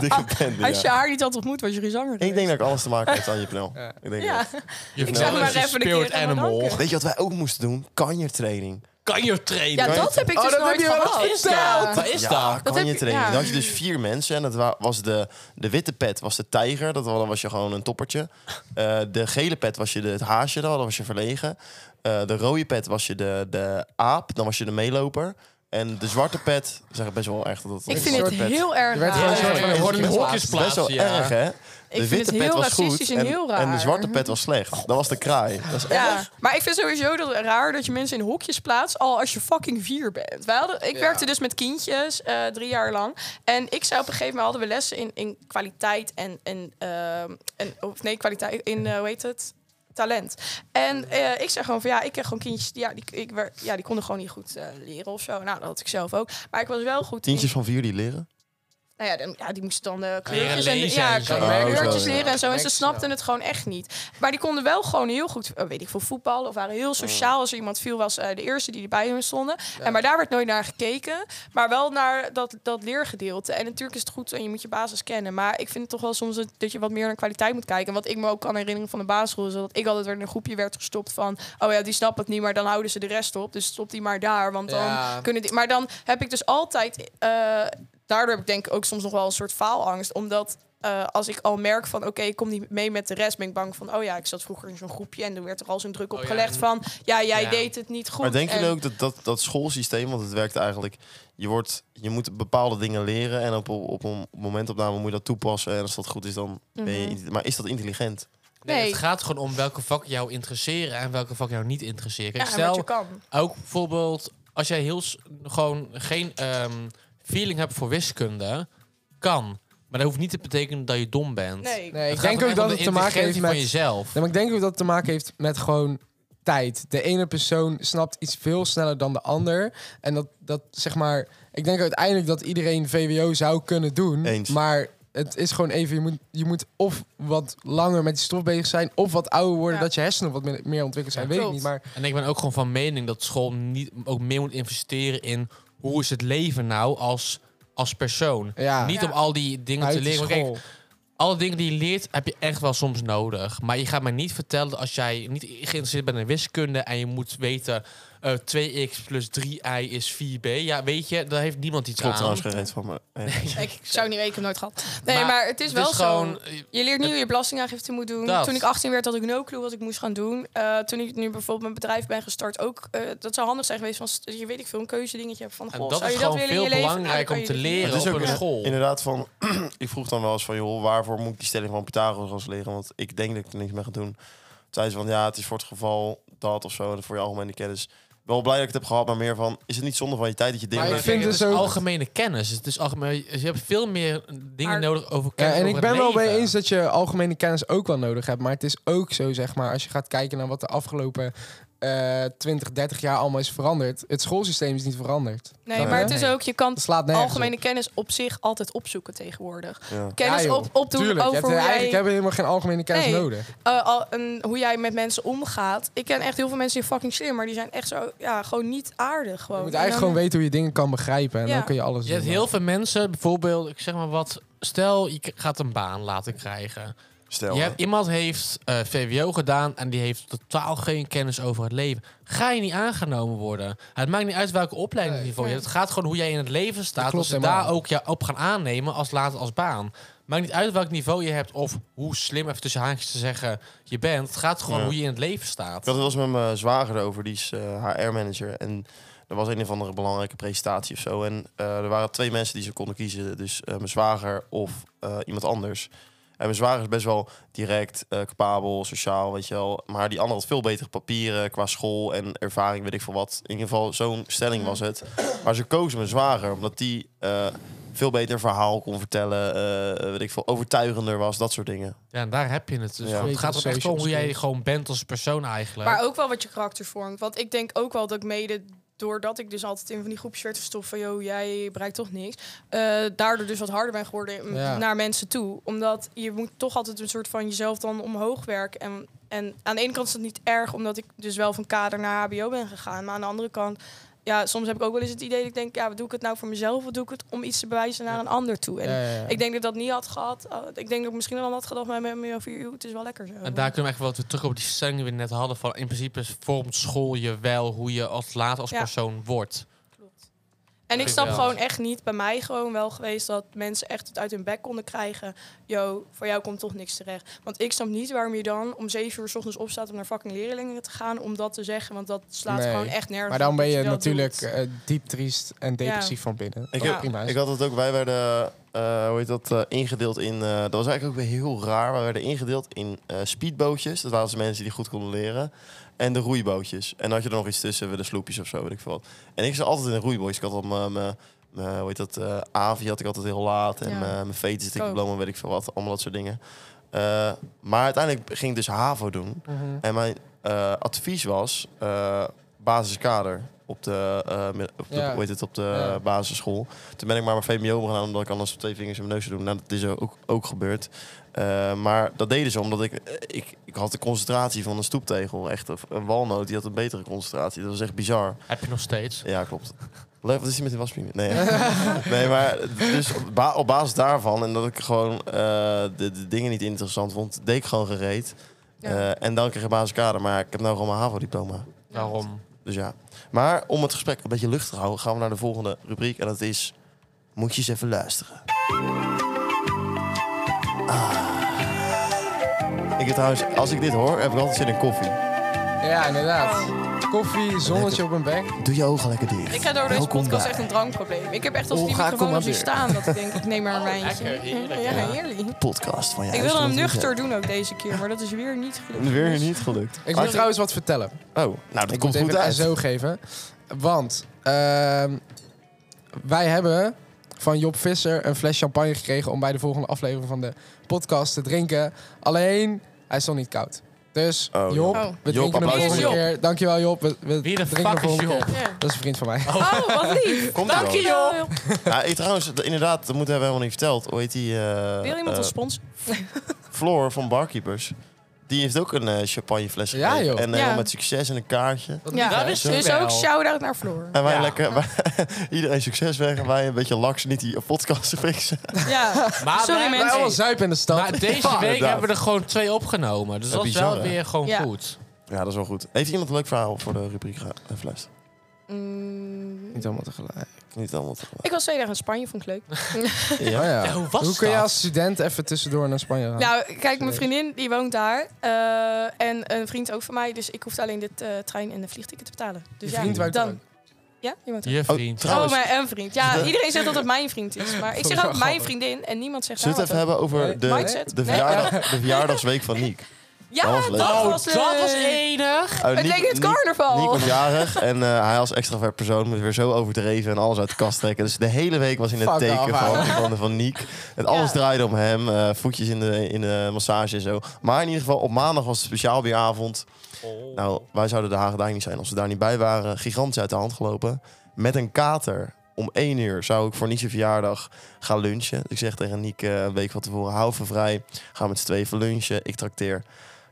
[SPEAKER 1] Dikke bende,
[SPEAKER 3] Als je
[SPEAKER 1] ja.
[SPEAKER 3] haar niet had ontmoet, was je geen zanger
[SPEAKER 1] Ik denk dat ik alles te maken heeft aan je Nel.
[SPEAKER 4] Ja.
[SPEAKER 1] Ik denk
[SPEAKER 3] Ja.
[SPEAKER 1] dat.
[SPEAKER 2] Je
[SPEAKER 1] Ik
[SPEAKER 2] vertelde
[SPEAKER 1] zeg maar
[SPEAKER 2] dat je
[SPEAKER 3] even een
[SPEAKER 2] speelt
[SPEAKER 3] keer en dan
[SPEAKER 2] animal.
[SPEAKER 3] danken.
[SPEAKER 1] Weet je wat wij ook moesten doen? Kanjertraining.
[SPEAKER 2] Kan je trainen?
[SPEAKER 3] ja, dat heb ik
[SPEAKER 4] Oh,
[SPEAKER 3] dus
[SPEAKER 4] dat
[SPEAKER 3] nooit
[SPEAKER 4] heb je wel
[SPEAKER 3] gehad.
[SPEAKER 4] eens
[SPEAKER 3] Ja.
[SPEAKER 2] Wat is
[SPEAKER 1] Ja,
[SPEAKER 2] dat?
[SPEAKER 3] Dat
[SPEAKER 1] kan je
[SPEAKER 3] heb je-
[SPEAKER 1] trainen.
[SPEAKER 3] ja.
[SPEAKER 1] Dan had je dus vier mensen. En dat wa- was de, de witte pet was de tijger. Dat wa- dan was je gewoon een toppertje. Eh, de gele pet was je de, het haasje. Dan was je verlegen. Eh, de rode pet was je de, de aap. Dan was je de meeloper. En de zwarte pet... Zeg het best wel echt dat dat
[SPEAKER 3] Ik
[SPEAKER 1] een
[SPEAKER 3] vind
[SPEAKER 1] soort
[SPEAKER 3] het
[SPEAKER 1] pet.
[SPEAKER 3] heel
[SPEAKER 4] Je
[SPEAKER 3] erg
[SPEAKER 4] werd
[SPEAKER 2] Ja,
[SPEAKER 4] gewoon
[SPEAKER 3] raar.
[SPEAKER 4] een soort van
[SPEAKER 2] ja, ja.
[SPEAKER 4] horden
[SPEAKER 2] Hokjes
[SPEAKER 4] plaatsen.
[SPEAKER 1] Best wel
[SPEAKER 2] plaatsen, ja.
[SPEAKER 1] erg, hè? De
[SPEAKER 3] vind
[SPEAKER 1] witte
[SPEAKER 3] het
[SPEAKER 1] pet
[SPEAKER 3] heel
[SPEAKER 1] was goed.
[SPEAKER 3] racistisch en heel raar. Mhm.
[SPEAKER 1] en de zwarte pet was slecht. Dat was de kraai. Dat is echt...
[SPEAKER 3] Ja, maar ik vind sowieso dat raar dat je mensen in hokjes plaatst al als je fucking vier bent. Wij hadden, ik werkte dus met kindjes eh, drie jaar lang. En ik zei op een gegeven moment hadden we lessen in, in kwaliteit en, en, ehm, en of nee, kwaliteit in eh, hoe heet het? Talent. En eh, ik zei gewoon van ja, ik heb gewoon kindjes die, ja, die, ik, wer- ja, die konden gewoon niet goed eh, leren of zo. Nou, dat had ik zelf ook. Maar ik was wel goed in-
[SPEAKER 1] Tientjes van vier die leren.
[SPEAKER 3] nou ja, dan, ja, die moesten dan de kleurtjes
[SPEAKER 2] Leren
[SPEAKER 3] en de,
[SPEAKER 2] lezen
[SPEAKER 3] ja,
[SPEAKER 2] en zo.
[SPEAKER 1] Oh,
[SPEAKER 3] kleurtjes
[SPEAKER 1] zo, ja.
[SPEAKER 3] leren en zo. En ze
[SPEAKER 4] Niks,
[SPEAKER 3] snapten het gewoon echt niet. Maar die konden wel gewoon heel goed, eh, weet ik veel, voetballen. Of waren heel sociaal. Als er iemand viel, was eh, de eerste die bij hun stonden. En, maar daar werd nooit naar gekeken. Maar wel naar dat, dat leergedeelte. En natuurlijk is het goed en je moet je basis kennen. Maar ik vind het toch wel soms dat- dat je wat meer naar kwaliteit moet kijken. En wat ik me ook kan herinneren van de basisschool... is dat ik altijd weer in een groepje werd gestopt van... oh ja, die snapt het niet, maar dan houden ze de rest op. Dus stop die maar daar, want dan
[SPEAKER 4] Ja.
[SPEAKER 3] kunnen die... Maar dan heb ik dus altijd... eh, daardoor heb ik denk ik ook soms nog wel een soort faalangst. Omdat eh, als ik al merk van oké, ik kom niet mee met de rest, ben ik bang van oh ja, ik zat vroeger in zo'n groepje en er werd er al zo'n druk op
[SPEAKER 2] Oh ja.
[SPEAKER 3] gelegd van ja, jij
[SPEAKER 2] Ja.
[SPEAKER 3] deed het niet goed.
[SPEAKER 1] Maar denk je
[SPEAKER 3] En-
[SPEAKER 1] ook dat, dat dat schoolsysteem, want het werkt eigenlijk, je, wordt, je moet bepaalde dingen leren en op, op een momentopname moet je dat toepassen. En als dat goed is, dan ben je. intelli- Maar is dat intelligent?
[SPEAKER 2] Nee,
[SPEAKER 3] Nee.
[SPEAKER 2] Het gaat gewoon om welke vak jou interesseren en welke vak jou niet interesseren.
[SPEAKER 3] ja,
[SPEAKER 2] Kijk,
[SPEAKER 3] en wat
[SPEAKER 2] stel,
[SPEAKER 3] je kan.
[SPEAKER 2] Ook bijvoorbeeld, als jij heel s- gewoon geen ehm, feeling hebt voor wiskunde, kan. Maar dat hoeft niet te betekenen dat je dom bent.
[SPEAKER 3] Nee.
[SPEAKER 4] Nee, ik
[SPEAKER 2] gaat
[SPEAKER 4] denk
[SPEAKER 2] om
[SPEAKER 4] ook
[SPEAKER 2] echt
[SPEAKER 4] dat
[SPEAKER 2] om
[SPEAKER 4] het
[SPEAKER 2] de
[SPEAKER 4] te maken heeft
[SPEAKER 2] intelligentie
[SPEAKER 4] met...
[SPEAKER 2] van jezelf.
[SPEAKER 4] Nee, maar ik denk ook dat het te maken heeft met gewoon tijd. De ene persoon snapt iets veel sneller dan de ander. En dat, dat zeg maar... Ik denk uiteindelijk dat iedereen VWO zou kunnen doen.
[SPEAKER 1] Eens.
[SPEAKER 4] Maar het is gewoon even... Je moet, je moet of wat langer met die stof bezig zijn... of wat ouder worden,
[SPEAKER 3] Ja.
[SPEAKER 4] dat je hersenen wat meer- meer ontwikkeld zijn.
[SPEAKER 2] Ja,
[SPEAKER 4] weet ik
[SPEAKER 3] klopt.
[SPEAKER 4] niet, maar...
[SPEAKER 2] En ik ben ook gewoon van mening dat school niet, ook meer moet investeren in hoe is het leven nou als, als persoon.
[SPEAKER 4] Ja,
[SPEAKER 2] Niet
[SPEAKER 3] Ja.
[SPEAKER 2] om al die dingen
[SPEAKER 4] uit
[SPEAKER 2] te
[SPEAKER 4] de
[SPEAKER 2] leren. Want Kijk,
[SPEAKER 4] school.
[SPEAKER 2] alle dingen die je leert heb je echt wel soms nodig. Maar je gaat mij niet vertellen dat als jij niet geïnteresseerd bent in wiskunde en je moet weten eh 2x plus 3i is 4b. Ja, weet je, daar heeft niemand iets
[SPEAKER 1] Klopt
[SPEAKER 2] aan.
[SPEAKER 1] trouwens geen reet van me. Nee.
[SPEAKER 3] Ik zou niet weten, ik heb nooit gehad. Nee, maar, het is
[SPEAKER 2] het
[SPEAKER 3] wel
[SPEAKER 2] is
[SPEAKER 3] gewoon.
[SPEAKER 2] gewoon, eh,
[SPEAKER 3] Je leert nu hoe je belastingaangifte moet doen.
[SPEAKER 2] Dat.
[SPEAKER 3] Toen ik 18 werd, had ik no clue wat ik moest gaan doen. Eh, toen ik nu bijvoorbeeld mijn bedrijf ben gestart, ook eh, dat zou handig zijn geweest. Van, st- je weet ik veel, een keuzedingetje hebt van.
[SPEAKER 2] En
[SPEAKER 3] Goh,
[SPEAKER 2] dat
[SPEAKER 3] zou
[SPEAKER 2] is
[SPEAKER 3] je dat
[SPEAKER 2] gewoon
[SPEAKER 3] willen in je
[SPEAKER 2] veel
[SPEAKER 3] leven? Nou,
[SPEAKER 2] belangrijk
[SPEAKER 3] dan
[SPEAKER 2] om
[SPEAKER 3] kan je
[SPEAKER 2] te
[SPEAKER 3] dit
[SPEAKER 2] leren.
[SPEAKER 3] doen.
[SPEAKER 1] Het is
[SPEAKER 2] op
[SPEAKER 1] ook
[SPEAKER 2] een school.
[SPEAKER 1] inderdaad van. ik vroeg dan wel eens van joh, waarvoor moet ik die stelling van Pythagoras leren? Want ik denk dat ik er niks mee ga doen. Toen zei ze van ja, het is voor het geval dat of zo, en voor je algemene kennis. Wel blij dat ik het heb gehad, maar meer van is het niet zonde van je tijd dat je dingen.
[SPEAKER 4] Maar ik
[SPEAKER 1] leert?
[SPEAKER 4] vind
[SPEAKER 2] het
[SPEAKER 4] dus
[SPEAKER 2] is
[SPEAKER 4] ook-
[SPEAKER 2] algemene kennis. Het is algemeen, je hebt veel meer dingen
[SPEAKER 3] Maar-
[SPEAKER 2] nodig over
[SPEAKER 4] Ja,
[SPEAKER 2] kennis.
[SPEAKER 4] en ik
[SPEAKER 2] over
[SPEAKER 4] ben
[SPEAKER 2] het
[SPEAKER 4] wel
[SPEAKER 2] leven.
[SPEAKER 4] mee eens dat je algemene kennis ook wel nodig hebt. Maar het is ook zo, zeg maar, als je gaat kijken naar wat de afgelopen eh 20, 30 jaar allemaal is veranderd. Het schoolsysteem is niet veranderd.
[SPEAKER 3] Nee,
[SPEAKER 4] Dat-
[SPEAKER 3] maar het
[SPEAKER 4] hè?
[SPEAKER 3] is ook, je kan
[SPEAKER 4] Dat slaat nergens op.
[SPEAKER 3] algemene kennis op zich altijd opzoeken tegenwoordig.
[SPEAKER 1] Ja.
[SPEAKER 3] Kennis
[SPEAKER 4] Ja, joh.
[SPEAKER 3] op, opdoen
[SPEAKER 4] Tuurlijk, je
[SPEAKER 3] over
[SPEAKER 4] hebt,
[SPEAKER 3] hoe
[SPEAKER 4] eh,
[SPEAKER 3] jij,
[SPEAKER 4] eigenlijk hebben we helemaal geen algemene kennis
[SPEAKER 3] Nee.
[SPEAKER 4] nodig.
[SPEAKER 3] eh, al- en hoe jij met mensen omgaat. Ik ken echt heel veel mensen die fucking slim, maar die zijn echt zo, ja, gewoon niet aardig. Gewoon.
[SPEAKER 4] Je moet eigenlijk gewoon weten hoe je dingen kan begrijpen. En
[SPEAKER 3] Ja.
[SPEAKER 4] dan kun je alles
[SPEAKER 2] Je
[SPEAKER 4] doen.
[SPEAKER 2] hebt heel veel mensen, bijvoorbeeld, ik zeg maar wat. Stel, je k- gaat een baan laten krijgen.
[SPEAKER 1] Stel.
[SPEAKER 2] Je
[SPEAKER 1] hè.
[SPEAKER 2] hebt, iemand heeft eh, VWO gedaan en die heeft totaal geen kennis over het leven. Ga je niet aangenomen worden. Het maakt niet uit welke opleiding je voor je hebt. Het gaat gewoon hoe jij in het leven staat.
[SPEAKER 4] klopt
[SPEAKER 2] Als ze
[SPEAKER 4] helemaal.
[SPEAKER 2] daar ook jou op gaan aannemen als later als baan. Maakt niet uit welk niveau je hebt of hoe slim, even tussen haakjes te zeggen, je bent. Het gaat gewoon
[SPEAKER 1] Ja.
[SPEAKER 2] hoe je in het leven staat.
[SPEAKER 1] Ik had het wel eens met mijn zwager over, die is HR-manager. En er was een of andere belangrijke presentatie of zo. En eh, er waren twee mensen die ze konden kiezen. Dus eh, mijn zwager of eh, iemand anders. En mijn zwager is best wel direct, eh, capabel, sociaal, weet je wel. Maar die andere had veel betere papieren qua school en ervaring, weet ik veel wat. In ieder geval, zo'n stelling was het. Maar ze kozen mijn zwager, omdat die eh, veel beter verhaal kon vertellen. eh, weet ik veel, overtuigender was, dat soort dingen.
[SPEAKER 2] Ja, en daar heb je het. Dus
[SPEAKER 1] Ja.
[SPEAKER 2] Het gaat er echt om hoe jij gewoon bent als persoon eigenlijk.
[SPEAKER 3] Maar ook wel wat je karakter vormt. Want ik denk ook wel dat ik mede doordat ik dus altijd in van die groepjes werd verstopt van... joh, jij bereikt toch niks. eh, daardoor dus wat harder ben geworden m-
[SPEAKER 4] Ja.
[SPEAKER 3] naar mensen toe. Omdat je moet toch altijd een soort van jezelf dan omhoog werken. En, en aan de ene kant is dat niet erg, omdat ik dus wel van kader naar hbo ben gegaan. Maar aan de andere kant... Ja, soms heb ik ook wel eens het idee dat ik denk... ja, wat doe ik het nou voor mezelf? Wat doe ik het om iets te bewijzen naar een ander toe? En
[SPEAKER 4] Ja, ja, ja.
[SPEAKER 3] ik denk dat ik dat niet had gehad. Eh, ik denk dat ik misschien wel had gedacht... maar met me over u, het is wel lekker zo.
[SPEAKER 2] En daar kunnen we echt wel weer terug op die stelling die we net hadden. Van in principe vormt school je wel hoe je als later als
[SPEAKER 3] Ja.
[SPEAKER 2] persoon wordt.
[SPEAKER 3] En ik
[SPEAKER 2] Ik
[SPEAKER 3] snap
[SPEAKER 2] wel.
[SPEAKER 3] gewoon echt niet, bij mij gewoon wel geweest dat mensen echt het uit hun bek konden krijgen. Yo, voor jou komt toch niks terecht. Want ik snap niet waarom je dan om zeven uur s ochtends opstaat om naar fucking leerlingen te gaan om dat te zeggen. Want dat slaat
[SPEAKER 4] Nee.
[SPEAKER 3] gewoon echt nergens
[SPEAKER 4] Maar dan
[SPEAKER 3] op
[SPEAKER 4] ben
[SPEAKER 3] dat
[SPEAKER 4] je
[SPEAKER 3] dat
[SPEAKER 4] natuurlijk
[SPEAKER 3] doet.
[SPEAKER 4] eh, diep triest en depressief van binnen.
[SPEAKER 1] Ik,
[SPEAKER 4] Wat
[SPEAKER 1] heb-
[SPEAKER 4] prima is.
[SPEAKER 1] ik had het ook, wij werden, eh, hoe heet dat, eh, ingedeeld in, eh, dat was eigenlijk ook weer heel raar. Wij werden ingedeeld in eh, speedbootjes, dat waren dus mensen die goed konden leren. En de roeibootjes. En dan had je er nog iets tussen, de sloepjes of zo, weet ik veel wat. En ik zat altijd in de roeibootjes. Ik had al mijn- mijn, mijn, hoe heet dat, eh avi had ik altijd heel laat. En
[SPEAKER 3] Ja.
[SPEAKER 1] mijn- mijn fetus,
[SPEAKER 3] ook.
[SPEAKER 1] diploma, weet ik veel wat, allemaal dat soort dingen. Eh, maar uiteindelijk ging ik dus HAVO doen.
[SPEAKER 4] Mhm.
[SPEAKER 1] En mijn eh, advies was eh, basiskader op de, eh, mid- op de,
[SPEAKER 4] Ja.
[SPEAKER 1] hoe heet het, op de
[SPEAKER 4] Ja.
[SPEAKER 1] basisschool. Toen ben ik maar mijn VMBO gaan omdat ik anders twee vingers in mijn neus zou doen. Nou, dat is ook, ook gebeurd. Eh, maar dat deden ze omdat ik, eh, ik, ik had de concentratie van een stoeptegel. Echt, Of een walnoot die had een betere concentratie. Dat was echt bizar.
[SPEAKER 2] Heb je nog steeds.
[SPEAKER 1] Ja, klopt. Leuk, wat is die met die wasmachine? Nee, nee maar dus op, ba- op basis daarvan en dat ik gewoon eh, de, de dingen niet interessant vond, deed ik gewoon gereed.
[SPEAKER 3] Ja.
[SPEAKER 1] Eh, en dan kreeg ik basiskader, maar ik heb nou gewoon mijn HAVO-diploma.
[SPEAKER 2] Daarom.
[SPEAKER 1] Dus ja. Maar om het gesprek een beetje lucht te houden, gaan we naar de volgende rubriek. En dat is, moet je eens even luisteren. Ah. Ik heb trouwens, als ik dit hoor, heb ik altijd zin in koffie.
[SPEAKER 4] Ja, inderdaad.
[SPEAKER 3] Oh.
[SPEAKER 4] Koffie, zonnetje op een bek.
[SPEAKER 1] Doe je ogen lekker dicht.
[SPEAKER 3] Ik heb door deze
[SPEAKER 1] Welkom
[SPEAKER 3] podcast
[SPEAKER 1] bij-
[SPEAKER 3] echt een drankprobleem. Ik heb echt als die
[SPEAKER 1] Olga, kom
[SPEAKER 3] microfoon
[SPEAKER 1] maar
[SPEAKER 3] als hier
[SPEAKER 1] weer.
[SPEAKER 3] staan dat ik denk, ik neem maar een wijntje.
[SPEAKER 2] lekker, heerlijk,
[SPEAKER 3] ja,
[SPEAKER 2] ja.
[SPEAKER 3] heerlijk.
[SPEAKER 1] podcast van jou.
[SPEAKER 3] Ik wilde hem nuchter doen ook deze keer, maar dat is weer niet gelukt.
[SPEAKER 1] Weer niet gelukt.
[SPEAKER 4] Ik
[SPEAKER 1] Maar-
[SPEAKER 4] moet trouwens wat vertellen.
[SPEAKER 1] Oh, nou dat
[SPEAKER 4] ik
[SPEAKER 1] komt
[SPEAKER 4] moet
[SPEAKER 1] goed
[SPEAKER 4] even
[SPEAKER 1] uit.
[SPEAKER 4] zo geven. Want ehm, wij hebben van Job Visser een fles champagne gekregen om bij de volgende aflevering van de podcast te drinken. Alleen, hij is nog niet koud. Dus
[SPEAKER 1] Oh,
[SPEAKER 4] Job,
[SPEAKER 3] ja.
[SPEAKER 4] we
[SPEAKER 1] Job,
[SPEAKER 4] drinken hem
[SPEAKER 1] applaus
[SPEAKER 4] volgende
[SPEAKER 3] voor Job.
[SPEAKER 4] keer. Dankjewel Job. We, we
[SPEAKER 2] Wie de
[SPEAKER 4] drinken
[SPEAKER 2] fuck
[SPEAKER 4] hem
[SPEAKER 2] is
[SPEAKER 4] volgende keer.
[SPEAKER 2] Job?
[SPEAKER 3] Ja.
[SPEAKER 4] Dat is een vriend van mij.
[SPEAKER 3] Oh, wat lief.
[SPEAKER 1] Komt er
[SPEAKER 3] Dank je, joh.
[SPEAKER 1] Ja, ik, trouwens, dat- inderdaad, dat moeten we helemaal niet verteld. Hoe heet die? eh,
[SPEAKER 3] Wil
[SPEAKER 1] eh,
[SPEAKER 3] iemand ons sponsoren?
[SPEAKER 1] Floor van Barkeepers. Die heeft ook een eh, champagnefles
[SPEAKER 4] Ja,
[SPEAKER 1] gekregen.
[SPEAKER 4] joh.
[SPEAKER 1] en helemaal
[SPEAKER 3] Ja.
[SPEAKER 1] met succes en een kaartje.
[SPEAKER 3] Ja,
[SPEAKER 2] dat is
[SPEAKER 3] Dus
[SPEAKER 2] wel.
[SPEAKER 3] ook shout-out naar Floor.
[SPEAKER 1] En wij
[SPEAKER 2] Ja.
[SPEAKER 1] lekker, wij- iedereen succes weg. En wij een beetje laks, niet die podcast fixen.
[SPEAKER 3] Ja.
[SPEAKER 2] Maar
[SPEAKER 3] Sorry,
[SPEAKER 2] wij-
[SPEAKER 3] mensen.
[SPEAKER 4] Wij
[SPEAKER 2] Hey,
[SPEAKER 4] allemaal zuipen in de stad.
[SPEAKER 2] Maar deze
[SPEAKER 1] Ja,
[SPEAKER 2] week
[SPEAKER 1] inderdaad.
[SPEAKER 2] hebben we er gewoon twee opgenomen. Dus
[SPEAKER 1] Ja,
[SPEAKER 2] dat is
[SPEAKER 1] bizar,
[SPEAKER 2] wel
[SPEAKER 1] hè?
[SPEAKER 2] weer gewoon
[SPEAKER 3] Ja.
[SPEAKER 2] goed.
[SPEAKER 1] Ja, dat is wel goed. Heeft iemand een leuk verhaal voor de rubriek eh, fles?
[SPEAKER 3] Mm,
[SPEAKER 4] Niet allemaal tegelijk.
[SPEAKER 1] Niet allemaal te
[SPEAKER 3] ik was twee dagen in Spanje, vond ik leuk.
[SPEAKER 1] Ja.
[SPEAKER 4] Oh ja.
[SPEAKER 2] Ja, hoe was
[SPEAKER 4] Hoe kun je
[SPEAKER 2] dat?
[SPEAKER 4] als student even tussendoor naar Spanje gaan?
[SPEAKER 3] Nou, kijk, mijn vriendin die woont daar. eh, en een vriend ook van mij. Dus ik hoefde alleen dit eh, trein- en de vliegticket te betalen. Dus
[SPEAKER 4] Je
[SPEAKER 3] ja,
[SPEAKER 4] vriend woont er
[SPEAKER 3] dan.
[SPEAKER 4] ook.
[SPEAKER 3] Ja, die woont er.
[SPEAKER 2] Je
[SPEAKER 1] Oh,
[SPEAKER 2] vriend.
[SPEAKER 1] trouw- Trouwens-
[SPEAKER 3] Oh, mijn een vriend. Ja,
[SPEAKER 1] De-
[SPEAKER 3] iedereen zegt dat het mijn vriend is. Maar ik
[SPEAKER 4] Vond ik
[SPEAKER 3] zeg
[SPEAKER 4] wel
[SPEAKER 3] ook mijn
[SPEAKER 4] grappig.
[SPEAKER 3] vriendin. En niemand zegt
[SPEAKER 1] Zullen we het even
[SPEAKER 3] nou
[SPEAKER 1] hebben over de,
[SPEAKER 3] Mindset?
[SPEAKER 1] de,
[SPEAKER 3] Nee.
[SPEAKER 1] verjaardag, de verjaardagsweek van Niek?
[SPEAKER 3] wat.
[SPEAKER 1] Dat was
[SPEAKER 3] Ja,
[SPEAKER 1] leuk.
[SPEAKER 3] dat
[SPEAKER 2] oh,
[SPEAKER 3] was leuk.
[SPEAKER 2] dat was enig.
[SPEAKER 1] Oh,
[SPEAKER 3] Het
[SPEAKER 1] Niek-
[SPEAKER 3] leek het
[SPEAKER 1] Niek- Niek
[SPEAKER 3] carnaval.
[SPEAKER 1] was jarig en eh, hij als extravert persoon moet weer zo overdreven en alles uit de kast trekken. Dus de hele week was in het
[SPEAKER 4] Fuck
[SPEAKER 1] teken
[SPEAKER 4] off,
[SPEAKER 1] van, van, van Niek. Het alles
[SPEAKER 3] Ja.
[SPEAKER 1] draaide om hem, eh, voetjes in de, in de massage en zo. Maar in ieder geval, op maandag was het speciaal bieravond.
[SPEAKER 4] Oh.
[SPEAKER 1] Nou, wij zouden de Hagedijn niet zijn als we daar niet bij waren. Gigantisch uit de hand gelopen. Met een kater. Om één uur zou ik voor Niek's verjaardag gaan lunchen. Dus ik zeg tegen Niek eh, een week van tevoren, hou van vrij. Gaan we met z'n tweeën even lunchen. Ik trakteer.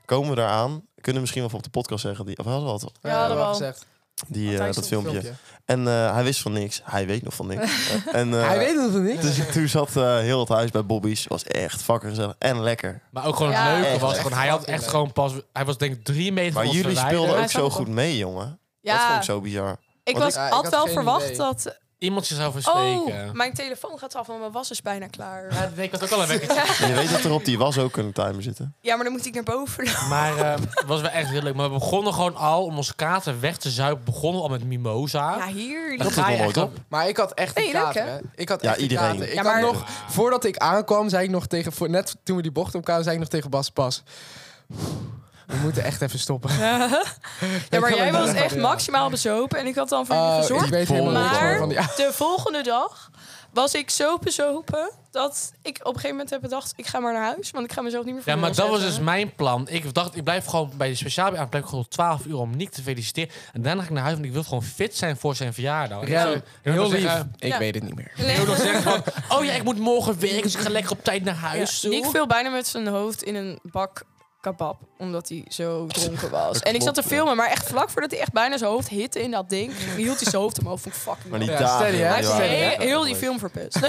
[SPEAKER 1] Komen we daaraan? Kunnen we misschien wel van op de podcast zeggen. Die, of hadden we al
[SPEAKER 3] Ja, dat wel.
[SPEAKER 4] gezegd.
[SPEAKER 1] die, eh,
[SPEAKER 4] Tijdens
[SPEAKER 1] dat
[SPEAKER 4] het
[SPEAKER 1] filmpje. En eh, hij wist van niks. Hij weet nog van niks. Eh, en, eh,
[SPEAKER 4] Hij weet het nog niet.
[SPEAKER 1] Dus toen zat eh, heel het huis bij Bobby's. Was echt fucking gezellig. En lekker.
[SPEAKER 2] Maar ook gewoon het
[SPEAKER 3] Ja,
[SPEAKER 2] leuke
[SPEAKER 1] echt,
[SPEAKER 2] was,
[SPEAKER 1] echt
[SPEAKER 2] gewoon, hij had
[SPEAKER 4] fucking
[SPEAKER 2] echt
[SPEAKER 4] leuk.
[SPEAKER 2] gewoon pas... Hij was denk ik drie meter
[SPEAKER 1] Maar
[SPEAKER 2] van ons
[SPEAKER 1] jullie
[SPEAKER 2] verwijderd.
[SPEAKER 1] speelden
[SPEAKER 3] Hij
[SPEAKER 1] ook
[SPEAKER 3] zat
[SPEAKER 1] zo
[SPEAKER 3] ook al-
[SPEAKER 1] goed mee, jongen. Dat vond
[SPEAKER 3] Ja,
[SPEAKER 1] ik zo bizar.
[SPEAKER 3] ik
[SPEAKER 1] Want
[SPEAKER 3] was,
[SPEAKER 4] ik- Ja, ik
[SPEAKER 3] had
[SPEAKER 4] had
[SPEAKER 3] wel
[SPEAKER 4] geen
[SPEAKER 3] verwacht
[SPEAKER 4] idee.
[SPEAKER 3] dat
[SPEAKER 2] iemand je zou versteken.
[SPEAKER 3] Oh, mijn telefoon gaat af, want mijn was is bijna klaar.
[SPEAKER 2] Ja, ik had ook al een wekkertje.
[SPEAKER 1] En je weet dat er op die was ook een timer zitten.
[SPEAKER 3] Ja, maar dan moet ik naar boven. lopen.
[SPEAKER 2] Maar eh, het was wel echt heel leuk. Maar we begonnen gewoon al, om onze katen weg te zuipen, begonnen al met mimosa.
[SPEAKER 3] Ja,
[SPEAKER 2] Dan
[SPEAKER 3] hier.
[SPEAKER 1] is
[SPEAKER 2] ga je
[SPEAKER 1] wel
[SPEAKER 2] echt
[SPEAKER 1] mooi, toch?
[SPEAKER 4] Maar ik had echt een
[SPEAKER 3] Hey, leuk,
[SPEAKER 4] kater,
[SPEAKER 3] hè?
[SPEAKER 4] hè? Ik had
[SPEAKER 1] Ja,
[SPEAKER 4] echt een
[SPEAKER 1] iedereen.
[SPEAKER 4] kater. Ik
[SPEAKER 3] Ja,
[SPEAKER 4] had
[SPEAKER 3] maar-
[SPEAKER 4] nog, voordat ik aankwam, zei ik nog tegen... Voor, net toen we die bocht omkwamen, zei ik nog tegen Bas... Bas, we moeten echt even stoppen.
[SPEAKER 3] Ja, maar
[SPEAKER 4] Ik
[SPEAKER 3] jij
[SPEAKER 4] had
[SPEAKER 3] was
[SPEAKER 4] een-
[SPEAKER 3] echt maximaal bezopen. En ik had dan voor je
[SPEAKER 4] Oh,
[SPEAKER 3] gezorgd.
[SPEAKER 4] ik weet helemaal niks
[SPEAKER 3] maar-
[SPEAKER 4] meer van die...
[SPEAKER 3] De volgende dag was ik zo bezopen dat ik op een gegeven moment heb bedacht... ik ga maar naar huis, want ik ga mezelf niet meer voor
[SPEAKER 2] Ja,
[SPEAKER 3] de
[SPEAKER 2] maar
[SPEAKER 3] lul
[SPEAKER 2] dat was dus
[SPEAKER 3] zetten.
[SPEAKER 2] mijn plan. Ik dacht, ik blijf gewoon bij de speciaal aan. Blijf ik gewoon 12 uur om Nick te feliciteren. En daarna ga ik naar huis, want ik wil gewoon fit zijn voor zijn verjaardag. En
[SPEAKER 4] Ja,
[SPEAKER 2] zo- en dan
[SPEAKER 4] heel
[SPEAKER 2] zeggen-
[SPEAKER 4] lief. Ik
[SPEAKER 3] Ja.
[SPEAKER 4] weet het niet meer.
[SPEAKER 2] Ik wil nog zeggen van, oh ja, ik moet morgen werken, dus ik ga lekker op tijd naar
[SPEAKER 1] Dus
[SPEAKER 2] huis
[SPEAKER 3] Ja,
[SPEAKER 2] toe.
[SPEAKER 3] Nick viel bijna met zijn hoofd in een bak kebab, omdat hij zo dronken was. En ik zat te filmen, maar echt vlak voordat hij echt bijna zijn hoofd hitte in dat ding, hield hij zijn hoofd omhoog. Vond ik fucking
[SPEAKER 1] Maar die
[SPEAKER 4] Ja,
[SPEAKER 1] dagen...
[SPEAKER 4] steady, hè?
[SPEAKER 1] die waren
[SPEAKER 4] Steady, hè?
[SPEAKER 1] echt
[SPEAKER 3] Heel, heel die
[SPEAKER 1] leuk.
[SPEAKER 3] film verpest.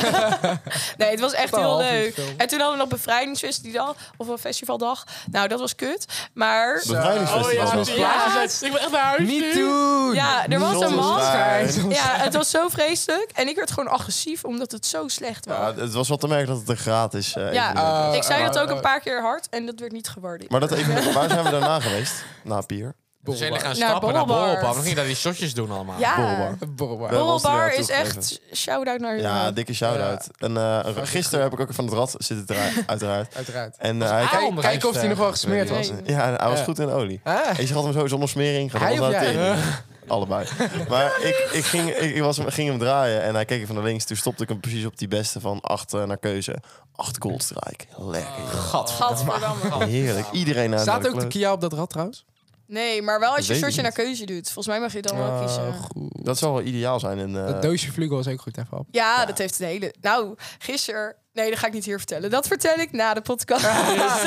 [SPEAKER 3] nee, het was echt
[SPEAKER 4] Wel
[SPEAKER 3] heel
[SPEAKER 4] half uur
[SPEAKER 3] leuk.
[SPEAKER 4] film.
[SPEAKER 3] En toen hadden we nog bevrijdingsfest die dag, of een festivaldag. Nou, dat was kut. Maar eh,
[SPEAKER 1] Bevrijdingsfestival
[SPEAKER 2] Oh ja,
[SPEAKER 1] was
[SPEAKER 2] ja,
[SPEAKER 1] het.
[SPEAKER 2] ja, ik wil echt naar huis
[SPEAKER 4] Niet
[SPEAKER 2] nu.
[SPEAKER 4] doen!
[SPEAKER 3] ja, er was
[SPEAKER 1] Zonder
[SPEAKER 3] een man.
[SPEAKER 1] schijn.
[SPEAKER 3] Ja, het was zo vreselijk. En ik werd gewoon agressief omdat het zo slecht was.
[SPEAKER 1] Ja, het was wel te merken dat het een gratis eh
[SPEAKER 3] Ja, Ah.
[SPEAKER 1] evenement was.
[SPEAKER 4] eh,
[SPEAKER 3] ik zei
[SPEAKER 4] eh,
[SPEAKER 3] dat ook
[SPEAKER 4] eh,
[SPEAKER 3] een paar keer hard en dat werd niet gewaardeerd.
[SPEAKER 1] Maar dat evenement, waar zijn we daarna geweest? Na Pier.
[SPEAKER 4] ah,
[SPEAKER 2] Dus jullie gaan
[SPEAKER 3] Naar
[SPEAKER 2] stappen naar
[SPEAKER 3] Borrelbar.
[SPEAKER 2] Borrelbar. Dan ging daar die shotjes doen allemaal.
[SPEAKER 3] ja.
[SPEAKER 1] Borrelbar.
[SPEAKER 4] Borrelbar.
[SPEAKER 1] Wel was die
[SPEAKER 3] Ah. Borrelbar
[SPEAKER 1] daar
[SPEAKER 3] is echt shout-out naar Oh.
[SPEAKER 1] Ja,
[SPEAKER 3] jullie.
[SPEAKER 1] dikke shout-out. En eh, gisteren heb ik ook van het rad zitten draaien, uiteraard.
[SPEAKER 4] Uiteraard.
[SPEAKER 1] En eh, hij,
[SPEAKER 2] Kijk-
[SPEAKER 4] Kijk, kijk of die nog wel gesmeerd was.
[SPEAKER 3] Nee.
[SPEAKER 1] ja, hij was
[SPEAKER 4] Ja.
[SPEAKER 1] goed in olie.
[SPEAKER 4] Ah.
[SPEAKER 1] En je had hem zo zonder smering. Gaat
[SPEAKER 4] Hij
[SPEAKER 1] alles
[SPEAKER 4] of
[SPEAKER 1] uit
[SPEAKER 4] jij?
[SPEAKER 1] tegen. Allebei. Maar ik, ik, ging, ik, ik was, hem- ging hem draaien en hij keek van naar links. Toen stopte ik hem precies op die beste van acht eh, naar keuze. Acht goals strike. Lekker. joh.
[SPEAKER 3] Gadverdamme.
[SPEAKER 1] Heerlijk. Iedereen aan
[SPEAKER 4] Staat
[SPEAKER 1] de
[SPEAKER 4] ook de
[SPEAKER 1] kloot.
[SPEAKER 4] Kia op dat rad trouwens?
[SPEAKER 3] Nee, maar wel als je een
[SPEAKER 1] Weet ik
[SPEAKER 3] shirtje naar
[SPEAKER 1] niet.
[SPEAKER 3] keuze doet. Volgens mij mag je het dan
[SPEAKER 4] Oh,
[SPEAKER 3] wel kiezen.
[SPEAKER 4] Ah, goed.
[SPEAKER 1] Dat zou wel ideaal zijn. En, eh,
[SPEAKER 4] Dat doosje vlugel was ook goed even op.
[SPEAKER 3] Ja, dat heeft een hele... Nou, gisteren... Nee, dat ga ik niet hier vertellen. Dat vertel ik na de podcast.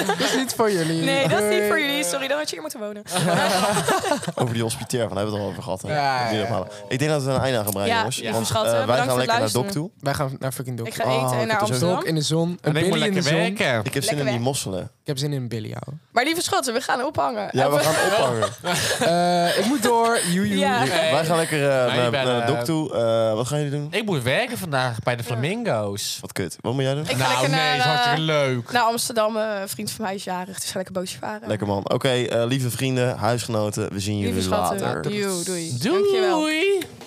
[SPEAKER 4] Dat is niet voor jullie.
[SPEAKER 3] Nee, dat is niet voor
[SPEAKER 4] Doei.
[SPEAKER 3] jullie. Sorry, dan had je hier moeten wonen.
[SPEAKER 1] Over die hospitair, van daar hebben we het al over gehad. Hè?
[SPEAKER 4] Ja,
[SPEAKER 1] Die
[SPEAKER 4] ja,
[SPEAKER 1] ophalen. Ik denk dat we een einde aan gaan breien,
[SPEAKER 3] Ja,
[SPEAKER 1] jongens.
[SPEAKER 3] lieve
[SPEAKER 1] Want,
[SPEAKER 3] schatten,
[SPEAKER 1] eh, wij
[SPEAKER 3] bedankt
[SPEAKER 1] gaan
[SPEAKER 3] voor het
[SPEAKER 1] lekker naar Dok
[SPEAKER 3] luisteren.
[SPEAKER 1] toe.
[SPEAKER 4] Wij gaan naar fucking Dok.
[SPEAKER 3] Ik ga
[SPEAKER 1] Oh,
[SPEAKER 3] eten en
[SPEAKER 1] ik heb
[SPEAKER 3] naar
[SPEAKER 1] er zo-
[SPEAKER 4] Dok
[SPEAKER 3] Amsterdam.
[SPEAKER 4] in de zon. Een
[SPEAKER 2] En ik moet
[SPEAKER 4] billy in de
[SPEAKER 2] lekker
[SPEAKER 4] zon.
[SPEAKER 2] werken.
[SPEAKER 1] Ik heb zin in
[SPEAKER 3] Lekker
[SPEAKER 1] die
[SPEAKER 3] weg.
[SPEAKER 1] mosselen.
[SPEAKER 4] Ik heb zin in een billy, ouwe.
[SPEAKER 3] Maar lieve schatten, we gaan ophangen.
[SPEAKER 1] Ja,
[SPEAKER 3] En
[SPEAKER 1] we gaan ophangen.
[SPEAKER 4] Eh, ik moet door. Joejoe.
[SPEAKER 3] Ja.
[SPEAKER 1] Wij gaan lekker eh, naar,
[SPEAKER 2] bellen.
[SPEAKER 1] naar Dok toe. Eh, wat gaan jullie doen?
[SPEAKER 2] Ik moet werken vandaag bij de Flamingo's.
[SPEAKER 1] Wat kut. Wat moet jij doen?
[SPEAKER 3] Ik ga
[SPEAKER 2] Nou,
[SPEAKER 3] lekker
[SPEAKER 2] nee,
[SPEAKER 3] naar,
[SPEAKER 2] is hartstikke
[SPEAKER 3] eh,
[SPEAKER 2] leuk.
[SPEAKER 3] Naar Amsterdam. eh, Een vriend van mij is jarig, dus ga lekker bootje varen.
[SPEAKER 1] Lekker man. Oké, eh, lieve vrienden, huisgenoten. We zien jullie
[SPEAKER 3] Lieve schatten.
[SPEAKER 1] later.
[SPEAKER 3] Joe, doei. Dankjewel.
[SPEAKER 2] Doei!